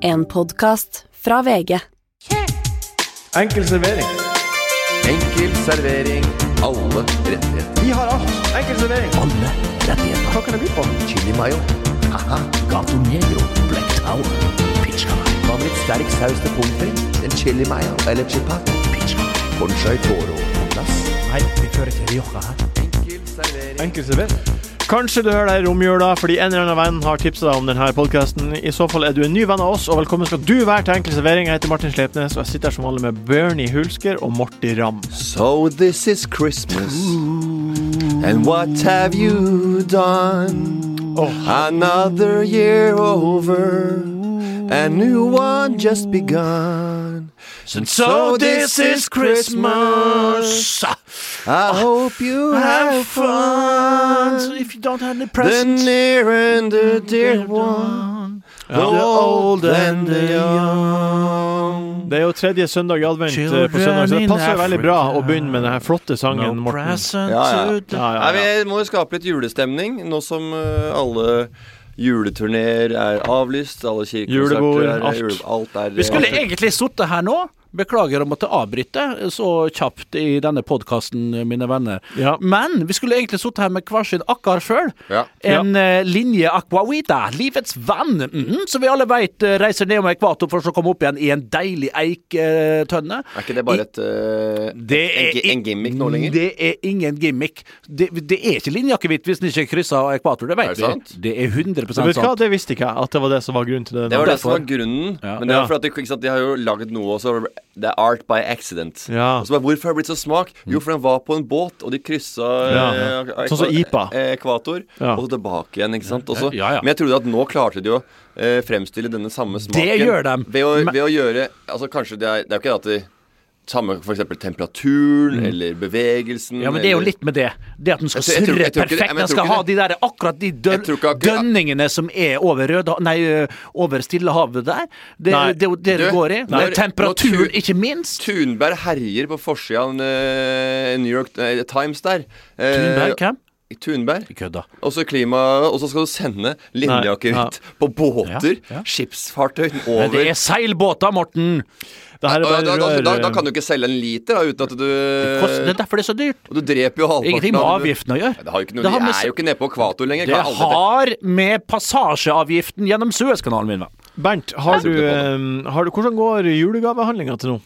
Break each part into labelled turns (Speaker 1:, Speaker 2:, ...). Speaker 1: En podkast fra VG.
Speaker 2: Enkel servering.
Speaker 3: Enkel servering. Alle rettigheter.
Speaker 2: Vi har alt. Enkel servering.
Speaker 3: Alle rettigheter.
Speaker 2: Hva kan det by på?
Speaker 3: Chili mayo. Haha. Gato negro. Black tower. Pizza. Hva med litt sterk saus til pommes frites? En chili mayo eller chipat? Pizza. Conchai toro på plass.
Speaker 4: Nei, vi fører til Rioja her.
Speaker 3: Enkel servering.
Speaker 2: Enkel servering.
Speaker 4: Kanskje du hører deg i romjula fordi en eller annen venn har tipsa deg om denne podkasten. I så fall er du en ny venn av oss, og velkommen skal du være til Enkel servering. Jeg heter Martin Slepnes, og jeg sitter her som vanlig med Bernie Hulsker og Morty Ramm.
Speaker 3: So this is Christmas. And what have you done? Another year over. A new one just begun. And so this is Christmas. I hope you have fun.
Speaker 4: If you don't have any
Speaker 3: The near and the dear one. The old and the young.
Speaker 4: Det er jo tredje søndag i advent eh, på søndag, så det passer jo veldig bra å begynne med denne flotte sangen, Morten.
Speaker 3: Ja, ja.
Speaker 4: Ja, ja,
Speaker 3: Nei,
Speaker 4: ja.
Speaker 3: Vi må jo skape litt julestemning, nå som eh, alle juleturneer er avlyst. Alle
Speaker 4: Julebord,
Speaker 3: kirkekonserter er
Speaker 4: alt.
Speaker 3: jule- alt er
Speaker 5: Vi skulle egentlig sittet her nå. Beklager å måtte avbryte så kjapt i denne podkasten, mine venner.
Speaker 4: Ja.
Speaker 5: Men vi skulle egentlig sittet her med hver sin akkar sjøl.
Speaker 3: Ja.
Speaker 5: En eh, linje Aquavita, livets venn, mhm, som vi alle veit reiser nedom ekvator for så å komme opp igjen i en deilig eh, eiktønne.
Speaker 3: Er ikke det bare et eh, en, gi- en gimmick nå lenger?
Speaker 5: Det er ingen gimmick. Det, det er ikke linjeakevitt hvis den ikke krysser ekvator,
Speaker 3: Er
Speaker 5: det
Speaker 3: det
Speaker 5: vet vi.
Speaker 3: sant?
Speaker 5: Det er 100
Speaker 4: Vet du hva,
Speaker 5: sant.
Speaker 4: det visste ikke jeg, at det var det som var grunnen til det.
Speaker 3: det var det som var
Speaker 5: derfor.
Speaker 3: grunnen.
Speaker 5: Ja.
Speaker 3: Men det
Speaker 4: Ja.
Speaker 3: var for at de, ikke sant, de har jo laget noe også. Det er art by accident.
Speaker 4: Ja.
Speaker 3: Og så bare, Hvorfor har det blitt så smak? Jo, for den var på en båt, og de kryssa
Speaker 4: Ja.
Speaker 3: eh,
Speaker 4: Sånn som IPA.
Speaker 3: eh, ekvator.
Speaker 4: Ja.
Speaker 3: Og så tilbake igjen, ikke sant. Og så-
Speaker 5: Ja, ja.
Speaker 3: Men jeg trodde at nå klarte de å eh, fremstille denne samme smaken.
Speaker 5: gjør de.
Speaker 3: Ved å,
Speaker 5: Men-
Speaker 3: ved å gjøre Altså, kanskje det er, det er jo ikke det at de samme f.eks. temperaturen eller bevegelsen
Speaker 5: Mm. Ja, men det er jo
Speaker 3: eller-
Speaker 5: litt med det. Det at den skal
Speaker 3: Jeg tror- Altså, jeg tror-
Speaker 5: surre
Speaker 3: jeg tror ikke det-
Speaker 5: perfekt.
Speaker 3: ja, men jeg tror
Speaker 5: Den skal
Speaker 3: ikke
Speaker 5: ha de der, akkurat de dø
Speaker 3: Jeg tror ikke akkurat-
Speaker 5: dønningene som er over Røde, nei, ø, over Stillehavet der. Det
Speaker 4: Nei.
Speaker 5: er det, er jo det
Speaker 3: Du,
Speaker 5: det går i.
Speaker 3: når-
Speaker 5: Men Temperaturen,
Speaker 3: når tu-
Speaker 5: ikke minst.
Speaker 3: Thunberg herjer på forsida av eh, New York eh, Times der. Eh,
Speaker 5: Thunberg, hvem?
Speaker 3: Thunberg.
Speaker 5: Kødda.
Speaker 3: Og så klima, og så skal du sende linjejakker
Speaker 4: Nei, ja.
Speaker 3: ut på båter,
Speaker 5: Ja, ja.
Speaker 3: skipsfartøy
Speaker 5: Men
Speaker 3: over
Speaker 5: det er seilbåter, Morten!
Speaker 4: Det her
Speaker 3: Og
Speaker 4: er
Speaker 3: da, da,
Speaker 4: bare
Speaker 3: da,
Speaker 4: rør- eh,
Speaker 3: da kan du ikke selge en liter da, uten at du
Speaker 5: Kost- Det er derfor det er så dyrt.
Speaker 3: Og du dreper jo halvparten
Speaker 5: Ingenting med
Speaker 3: av-
Speaker 5: avgiften å
Speaker 3: Nei,
Speaker 5: gjøre.
Speaker 3: Det har jo ikke noe,
Speaker 5: Det har
Speaker 3: de
Speaker 5: med
Speaker 3: er
Speaker 5: s-
Speaker 3: jo ikke nede på ekvator lenger. Hva
Speaker 5: Det
Speaker 3: er alle dette?
Speaker 5: har med passasjeavgiften gjennom Suezkanalen, min venn.
Speaker 4: Bernt, har du,
Speaker 3: tror ikke
Speaker 4: eh, har du, hvordan går julegavehandlinga til nå?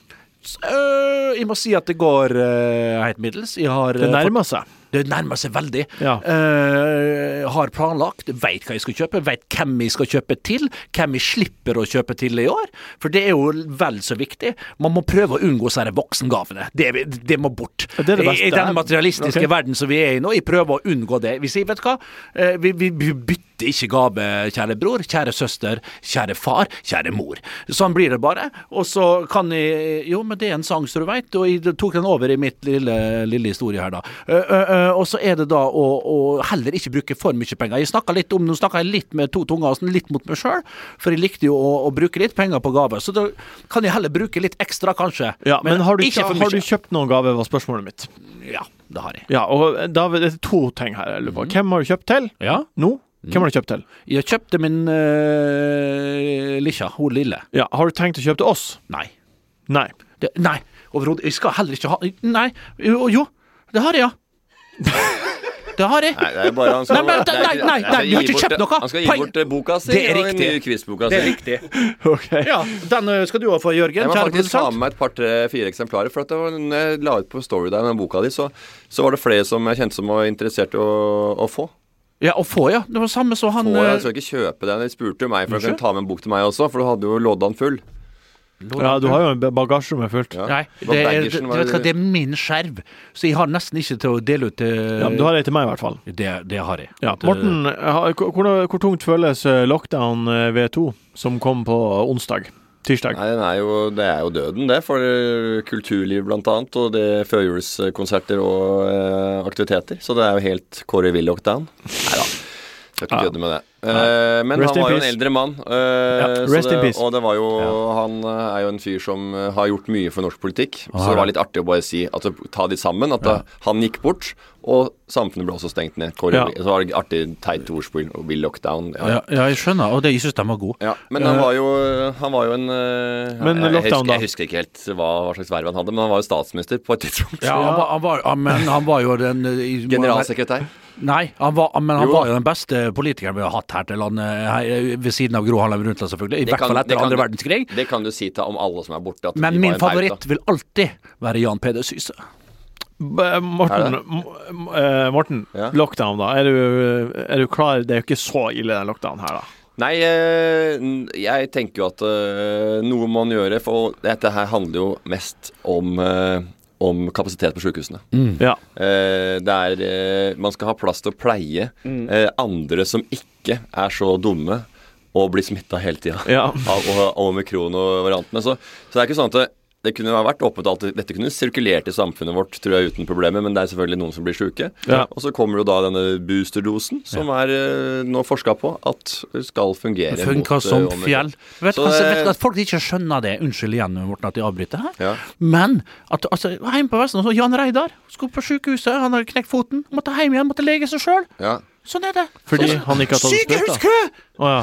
Speaker 5: S- ø, Eh, jeg må si at det går uh, helt middels. Jeg har
Speaker 4: Det
Speaker 5: ø, fått-
Speaker 4: nærmer seg.
Speaker 5: Det nærmer seg veldig.
Speaker 4: Ja.
Speaker 5: Eh, har planlagt, veit hva jeg skal kjøpe, veit hvem jeg skal kjøpe til, hvem jeg slipper å kjøpe til i år. For det er jo vel så viktig. Man må prøve å unngå disse her voksengavene. Det, det må bort.
Speaker 4: Ja, det er det beste.
Speaker 5: I, I den materialistiske
Speaker 4: Ok.
Speaker 5: verden som vi er i nå, jeg prøver å unngå det. Vi sier, vet du hva, Eh, vi, vi vi bytter ikke gave, kjære bror, kjære søster, kjære far, kjære mor. Sånn blir det bare. Og så kan jeg Jo, men det er en sang, som du veit, og jeg tok den over i mitt lille, lille historie her, da. Eh, eh, eh, og så er det da å, å heller ikke bruke for mye penger. Jeg snakka litt om Nå snakka jeg litt med to tunger, og sånn litt mot meg sjøl, for jeg likte jo å, å bruke litt penger på gaver. Så da kan jeg heller bruke litt ekstra, kanskje.
Speaker 4: Ja, men, har, du,
Speaker 5: ikke for
Speaker 4: har du
Speaker 5: mye.
Speaker 4: kjøpt noen gave, var spørsmålet mitt.
Speaker 5: Ja, det har jeg.
Speaker 4: Ja, og da er det to ting her. Jeg lurer på. Hvem har du kjøpt til?
Speaker 5: Ja.
Speaker 4: Nå? Hvem har du kjøpt til?
Speaker 5: Jeg kjøpte min uh, lille, hun lille.
Speaker 4: Ja, Har du tenkt å kjøpe til oss?
Speaker 5: Nei.
Speaker 4: Nei.
Speaker 5: Det, nei, overhodet. Jeg skal heller ikke ha Nei. Jo, jo det har jeg, ja. Det har jeg.
Speaker 3: Nei, det er jo bare han skal
Speaker 5: Nei, men-
Speaker 3: det er ikke-
Speaker 5: nei, nei,
Speaker 3: han skal
Speaker 5: nei, vi har
Speaker 3: gi
Speaker 5: ikke
Speaker 3: bort-
Speaker 5: kjøpt noe.
Speaker 3: Han skal gi
Speaker 5: Poeng-
Speaker 3: bort eh, boka si
Speaker 5: Det er
Speaker 3: og den
Speaker 5: riktig.
Speaker 3: nye quizboka si.
Speaker 5: riktig.
Speaker 4: Ok.
Speaker 5: Ja, Den ø, skal du òg få, Jørgen.
Speaker 3: Jeg må
Speaker 5: Kjære
Speaker 3: faktisk ta
Speaker 5: produsent.
Speaker 3: med meg et par-tre-fire eksemplarer. For at det var, når jeg la ut på Story der med boka di, så, så var det flere som jeg kjente som var interessert i å, å få.
Speaker 5: Ja, og få, ja. Det var samme som han eh,
Speaker 3: Å,
Speaker 5: ø,
Speaker 3: jeg skal ikke kjøpe den. De spurte jo meg for å kunne ta med en bok til meg også, for du hadde jo lodda den full.
Speaker 4: Ja, du har jo en bagasjerom fullt.
Speaker 3: Ja.
Speaker 5: Nei,
Speaker 3: Hva
Speaker 5: det er,
Speaker 3: baggersen
Speaker 5: det,
Speaker 3: var
Speaker 5: vet du hva, det er min skjerv, så jeg har nesten ikke til å dele ut til
Speaker 4: Ja, men du har ei til meg, i hvert fall.
Speaker 5: det, det har jeg.
Speaker 4: Ja.
Speaker 5: At, eh, ø,
Speaker 4: Morten, har- hvor, hvor- hvor tungt føles eh, lockdown eh, V2, som kom på onsdag? Tirsdag?
Speaker 3: Nei, den er jo, det er jo døden, det, for eh, kulturliv blant annet, og det er førjulskonserter og eh, aktiviteter. Så det er jo helt Kåre Willoch-down. Nei da. Skal ikke
Speaker 4: Ja.
Speaker 3: kødde med det. Eh, men
Speaker 4: Rest
Speaker 3: han
Speaker 4: in
Speaker 3: var jo en
Speaker 4: peace.
Speaker 3: eldre mann, eh,
Speaker 4: Ja,
Speaker 3: så
Speaker 4: rest in
Speaker 3: det,
Speaker 4: peace.
Speaker 3: og det var jo, han eh, er jo en fyr som eh, har gjort mye for norsk politikk. Så det
Speaker 5: har
Speaker 3: var
Speaker 5: han.
Speaker 3: litt artig å bare si, at ta de sammen, at da, han gikk bort, Og samfunnet ble også stengt ned. Kåre
Speaker 5: Ja.
Speaker 3: Willoch. Så var det artig teit ordspill. og Will lockdown. Ja.
Speaker 5: Ja, ja, jeg skjønner, og det, jeg syns de var gode.
Speaker 3: Ja, men han var jo, han var jo en eh,
Speaker 4: Men
Speaker 3: jeg, jeg,
Speaker 4: lockdown,
Speaker 3: husker,
Speaker 4: da?
Speaker 3: jeg husker ikke helt hva, hva slags verv han hadde, men han var jo statsminister på et tidspunkt.
Speaker 5: Ja, han var, han var, ja, men han var jo den eh, i-
Speaker 3: Generalsekretær.
Speaker 5: Nei, han var, men han
Speaker 3: Jo.
Speaker 5: var jo den beste politikeren vi har hatt her til landet, her, ved siden av Gro Harlem Brundtland, selvfølgelig. I
Speaker 3: Det
Speaker 5: hvert
Speaker 3: kan-
Speaker 5: fall
Speaker 3: det
Speaker 5: etter
Speaker 3: kan-
Speaker 5: andre verdenskrig.
Speaker 3: Det kan du si til om alle som er borte. At de
Speaker 5: Men
Speaker 3: var
Speaker 5: min
Speaker 3: en pauta.
Speaker 5: favoritt vil alltid være Jan Peder Syse.
Speaker 4: B- eh, Morten,
Speaker 3: Er det?
Speaker 4: M- eh, Morten
Speaker 3: Ja.
Speaker 4: lockdown, da. Er du, er du klar? Det er jo ikke så ille, den lockdownen her, da.
Speaker 3: Nei, eh, n- jeg tenker jo at eh, noe må man gjøre, for dette her handler jo mest om, eh, om kapasitet på sykehusene.
Speaker 5: Mm.
Speaker 4: Ja.
Speaker 3: Eh, det er eh, Man skal ha plass til å pleie
Speaker 5: Mm.
Speaker 3: eh, andre som ikke er så dumme og blir smitta hele tida
Speaker 4: Ja.
Speaker 3: av o- omikron og variantene. Så, så det er ikke sånn at det, det kunne ha vært åpent alt. Dette kunne sirkulert i samfunnet vårt tror jeg, uten problemer, men det er selvfølgelig noen som blir sjuke.
Speaker 4: Ja.
Speaker 3: Og så kommer jo da denne boosterdosen, som er eh, nå forska på at skal fungere.
Speaker 5: Det
Speaker 3: mot, eh,
Speaker 5: funka som
Speaker 3: omikron.
Speaker 5: fjell. Vet du
Speaker 3: Så,
Speaker 5: hva-
Speaker 3: eh,
Speaker 5: vet du at folk ikke skjønner det? Unnskyld igjen, Morten, at jeg avbryter her.
Speaker 3: Ja.
Speaker 5: Men at altså, hjemme på Vestlandet så Jan Reidar skulle på sykehuset, han har knekt foten. Måtte hjem igjen, måtte lege seg sjøl.
Speaker 3: Ja.
Speaker 5: Sånn er det.
Speaker 4: Fordi
Speaker 5: Sånn-
Speaker 4: han ikke har tatt en sprøyte?
Speaker 5: Sykehuskø!
Speaker 4: Å ja.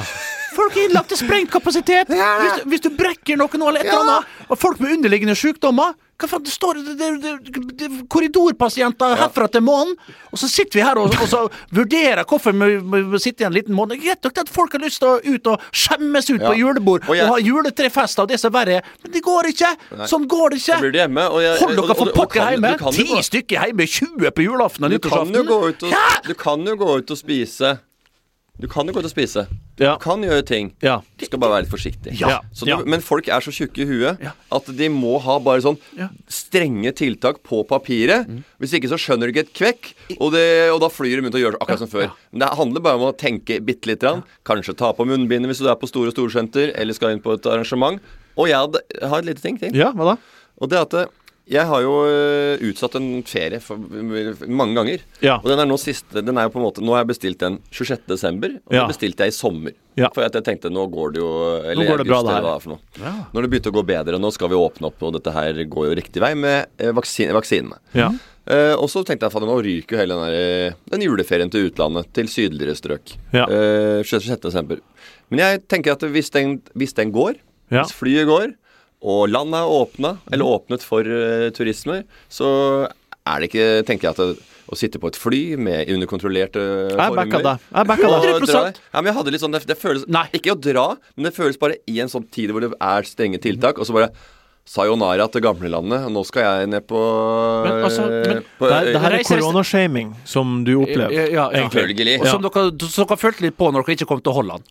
Speaker 5: Folk er innlagt til sprengt kapasitet. Hvis, du- hvis du brekker noe nå eller et eller annet, og folk med underliggende sykdommer hva faen, det står det, det, det, det, Korridorpasienter herfra til månen, og så sitter vi her og, og så vurderer hvorfor vi må må sitte i en liten måned. Greit nok det at folk har lyst til å ut og skjemmes ut
Speaker 3: Ja.
Speaker 5: på julebord og,
Speaker 3: Og jeg-
Speaker 5: ha juletrefest og det som er verre, men det går ikke. Sånn går det
Speaker 3: Da blir det
Speaker 5: ikke.
Speaker 3: hjemme. Og jeg, og-
Speaker 5: Hold
Speaker 3: og-
Speaker 5: dere for
Speaker 3: og du
Speaker 5: pokker
Speaker 3: kan-
Speaker 5: hjemme.
Speaker 3: du kan jo
Speaker 5: Ti
Speaker 3: gå-
Speaker 5: stykker hjemme, 20 på julaften og
Speaker 3: Du kan jo
Speaker 5: nyttårsaften.
Speaker 3: gå ut og,
Speaker 5: Hæ?
Speaker 3: du kan jo gå ut og spise. Du kan jo gå ut og spise.
Speaker 4: Ja.
Speaker 3: Du kan gjøre ting.
Speaker 4: ja.
Speaker 3: Du skal bare være litt forsiktig.
Speaker 5: Ja.
Speaker 3: Så du,
Speaker 4: Ja.
Speaker 3: Men folk er så tjukke i huet
Speaker 5: Ja.
Speaker 3: at de må ha bare sånn
Speaker 5: Ja. Mm.
Speaker 3: strenge tiltak på papiret. Hvis ikke så skjønner du ikke et kvekk, og, det, og da flyr de rundt og gjør akkurat som før. Men det handler bare om å tenke bitte lite grann. Kanskje ta på munnbindet hvis du er på store storsenter, eller skal inn på et arrangement. Og jeg, hadde, jeg har et lite ting til.
Speaker 4: ja, hva da?
Speaker 3: Og det at eh, jeg har jo eh, utsatt en ferie for, mange ganger.
Speaker 4: Ja.
Speaker 3: Og den er nå siste den er jo på en måte, Nå har jeg bestilt den 26. desember, og
Speaker 4: Ja.
Speaker 3: den bestilte jeg i sommer.
Speaker 4: Ja.
Speaker 3: For at jeg tenkte nå går det jo Eller
Speaker 4: går det bra, det her.
Speaker 3: eller hva er for noe. Når det begynte å gå bedre, nå skal vi åpne opp, og dette her går jo riktig vei med eh, vaksin, vaksinene.
Speaker 4: Ja.
Speaker 3: Eh, og så tenkte jeg at nå ryker jo hele den, der, eh, den juleferien til utlandet, til sydligere strøk.
Speaker 4: Ja.
Speaker 3: Eh, 26. desember. Men jeg tenker at hvis den, hvis den går,
Speaker 4: Ja. Mm.
Speaker 3: hvis flyet går, og landet er åpna, eller åpnet for eh, turisme, så er det ikke, tenker jeg, at det, å sitte på et fly med under kontrollerte
Speaker 4: Jeg backa deg. Jeg backa
Speaker 3: Og
Speaker 4: deg.
Speaker 3: dra- Ja, men jeg hadde litt sånn, det, det føles
Speaker 5: Nei.
Speaker 3: Ikke å dra, men det føles bare i en sånn tid hvor det er strenge tiltak, og så bare Sayonara til gamlelandet, og nå skal jeg ned på eh,
Speaker 5: Men altså, men-
Speaker 3: på
Speaker 4: Det, det her er
Speaker 5: Reiser-
Speaker 4: koronashaming som du
Speaker 5: Ja,
Speaker 4: opplever.
Speaker 5: ja, ja.
Speaker 3: Selvfølgelig.
Speaker 5: Og som dere, som dere følte litt på når dere ikke kom til Holland.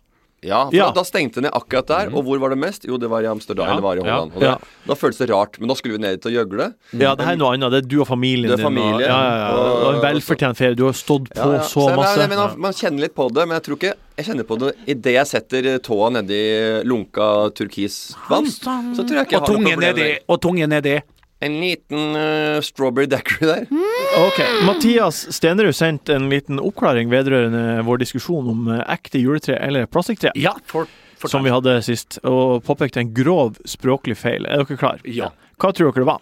Speaker 3: Ja, for
Speaker 4: Ja.
Speaker 3: Da, da stengte den ned akkurat der. Og hvor var det mest? Jo, det var i Amsterdam.
Speaker 5: Mhm. Ja,
Speaker 3: Eller var i Holland.
Speaker 5: ja,
Speaker 3: Og da,
Speaker 4: ja.
Speaker 3: da føltes det rart. Men da skulle vi ned til Gjøgle.
Speaker 4: Ja, det her er noe annet. Det er du og familien
Speaker 3: Det er
Speaker 4: din. og-
Speaker 3: familie,
Speaker 4: Ja, ja, ja.
Speaker 3: og-
Speaker 4: Det var en velfortjent ferie. Du har stått på
Speaker 3: Ja, ja.
Speaker 4: så
Speaker 3: jeg-
Speaker 4: masse.
Speaker 3: nei, men man, man kjenner litt på det, men jeg tror ikke Jeg kjenner på det idet jeg setter eh, tåa nedi lunka turkis vann. Så tror jeg ikke jeg
Speaker 5: Og
Speaker 3: har noe
Speaker 5: tunge
Speaker 3: problem med
Speaker 5: nedi.
Speaker 3: det.
Speaker 5: Og tunge nedi.
Speaker 3: En liten eh, strawberry dackery der.
Speaker 4: Ok, Mathias Stenerud sendte en liten oppklaring vedrørende vår diskusjon om eh, ekte juletre eller plastikktre,
Speaker 5: Ja, for, for
Speaker 4: som vi hadde sist, og påpekte en grov språklig feil. Er dere klar?
Speaker 5: Ja.
Speaker 4: Hva tror dere det var?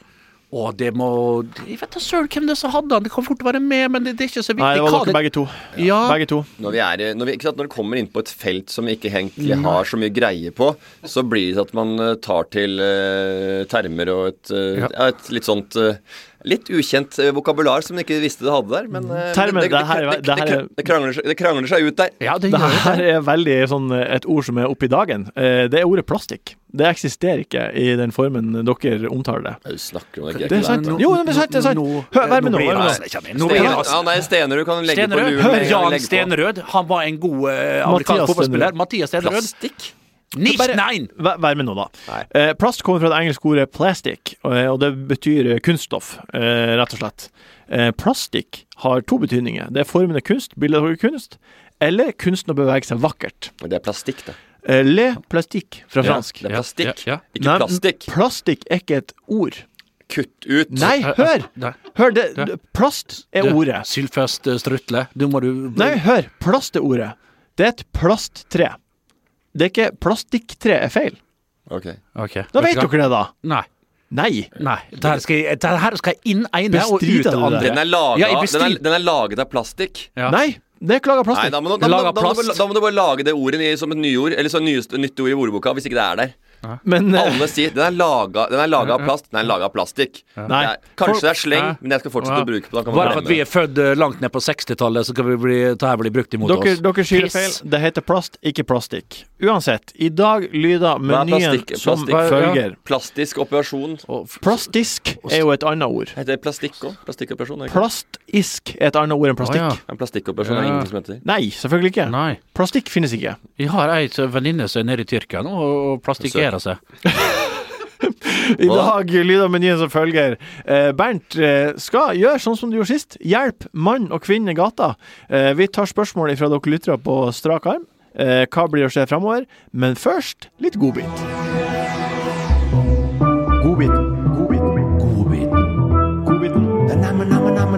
Speaker 5: Og det må Jeg vet da søren hvem det er som hadde han. Det kan fort være med, men det, det er ikke så viktig.
Speaker 4: Nei, det var
Speaker 5: hva
Speaker 4: dere begge to.
Speaker 5: Ja,
Speaker 4: Begge to.
Speaker 3: Når, vi er, i- når, vi, ikke sant, når det kommer inn på et felt som vi ikke egentlig har så mye greie på, så blir det til at man eh, tar til eh, termer og et, eh,
Speaker 5: Ja.
Speaker 3: ja. et litt sånt eh, Litt ukjent eh, vokabular som man ikke visste det hadde der. Men eh,
Speaker 4: Termer,
Speaker 3: men
Speaker 4: det her er-
Speaker 3: det, det,
Speaker 4: det her er-
Speaker 3: det, krangler seg, det krangler seg ut der.
Speaker 5: ja, det
Speaker 4: Det
Speaker 5: gjør det.
Speaker 4: her er veldig sånn et ord som er oppe i dagen. Eh, Det er ordet plastikk. Det eksisterer ikke i den formen dere omtaler det.
Speaker 3: Ja, Du snakker om det
Speaker 4: Det er sant.
Speaker 5: Nå-
Speaker 4: Jo, det er sant, det er sant.
Speaker 5: nå-
Speaker 4: Hør, vær med nå,
Speaker 5: blir
Speaker 4: vær med
Speaker 5: han-
Speaker 4: nå.
Speaker 5: Nei, kjenner jeg. Nå blir han-
Speaker 3: Stenerud, ja, nei, Stenerud kan legge på
Speaker 5: Stenerød.
Speaker 3: luren.
Speaker 5: altså. Hør
Speaker 3: med en gang han
Speaker 5: Jan
Speaker 3: legger på.
Speaker 5: Stenerød. Han var en god eh, amerikansk
Speaker 4: Mathias
Speaker 5: fotballspiller.
Speaker 4: Stenerød.
Speaker 5: Mathias Stenerød.
Speaker 3: Plastikk?
Speaker 5: Nicht
Speaker 4: Bare-
Speaker 5: nein!
Speaker 4: Vær, vær med nå, da.
Speaker 3: Nei.
Speaker 4: Eh, plast kommer fra det engelske ordet 'plastic', og, og det betyr eh, kunststoff, eh, rett og slett. Eh, plastikk har to betydninger. Det er formende kunst, billedhoggerkunst, eller kunsten å bevege seg vakkert.
Speaker 3: Men Det er plastikk, det.
Speaker 4: Eh, le plastikk fra fransk.
Speaker 3: Det er plastikk,
Speaker 5: ja, ja.
Speaker 3: ikke
Speaker 4: Nei,
Speaker 3: plastikk.
Speaker 4: Plastikk er ikke et ord.
Speaker 3: Kutt ut.
Speaker 4: Nei, hør!
Speaker 5: Eh, Nei.
Speaker 4: Hør, det, det- plast er ordet.
Speaker 5: Sylfest eh, Strutle. Du må du
Speaker 4: Nei, hør! Plast er ordet. Det er et plasttre. Det er ikke Plastikktre er feil.
Speaker 3: Ok.
Speaker 5: Ok.
Speaker 4: Da vet dere det, da.
Speaker 5: Nei.
Speaker 4: Nei!
Speaker 5: Nei, det her skal jeg, det her skal jeg innegne og
Speaker 4: Bestrider du det?
Speaker 5: utandre.
Speaker 3: Den er, laget,
Speaker 5: Ja, jeg
Speaker 3: av- den, er,
Speaker 5: bestrider-
Speaker 3: den er laget av plastikk.
Speaker 5: Ja.
Speaker 4: Nei! Det er ikke laga av
Speaker 3: Nei,
Speaker 4: plastikk.
Speaker 3: da må, du- da, må, da,
Speaker 5: Laget av
Speaker 3: må du,
Speaker 5: plast.
Speaker 3: da må du bare lage det ordet i- som et nyord, eller sånn nyest- nytt ord i ordboka, hvis ikke det er der.
Speaker 4: Men eh,
Speaker 3: Alle sier den er laga, den er laga av plast, den er laga av plastikk.
Speaker 4: Nei.
Speaker 3: Det er, kanskje det er sleng,
Speaker 5: Ja.
Speaker 3: men jeg skal fortsette
Speaker 5: Ja.
Speaker 3: å bruke på det.
Speaker 5: Bare for at vi er født eh, langt ned på 60-tallet, så kan vi bli, det her bli brukt imot
Speaker 4: dere,
Speaker 5: oss.
Speaker 4: dere sier det feil.
Speaker 5: Piss.
Speaker 4: Det heter plast, ikke plastikk. Uansett, i dag lyder
Speaker 3: Hva er
Speaker 4: menyen
Speaker 3: plastikk-
Speaker 4: som
Speaker 3: plastikk? Hva-
Speaker 5: ja.
Speaker 4: følger.
Speaker 3: Plastisk operasjon.
Speaker 4: Plastisk er jo et annet ord.
Speaker 3: Heter det plastikk òg? Plastikkoperasjon? er det ikke?
Speaker 4: Plastisk er et annet ord enn plastikk.
Speaker 5: Å, ja.
Speaker 3: En plastikkoperasjon er
Speaker 5: Ja.
Speaker 3: ingenting som heter det.
Speaker 4: Nei, selvfølgelig ikke.
Speaker 5: Nei.
Speaker 4: Plastikk finnes ikke.
Speaker 5: Vi har ei så- venninne som er nede i Tyrkia nå og plastikkerer seg.
Speaker 4: I
Speaker 3: Hva?
Speaker 4: dag lyder menyen som følger. Eh, Bernt eh, skal gjøre sånn som du gjorde sist. Hjelp mann og kvinne i gata. Eh, vi tar spørsmål fra dere lyttere på strak arm. Eh, hva blir å skje framover? Men først litt godbit. Godbit. Godbit. Godbit. Godbiten.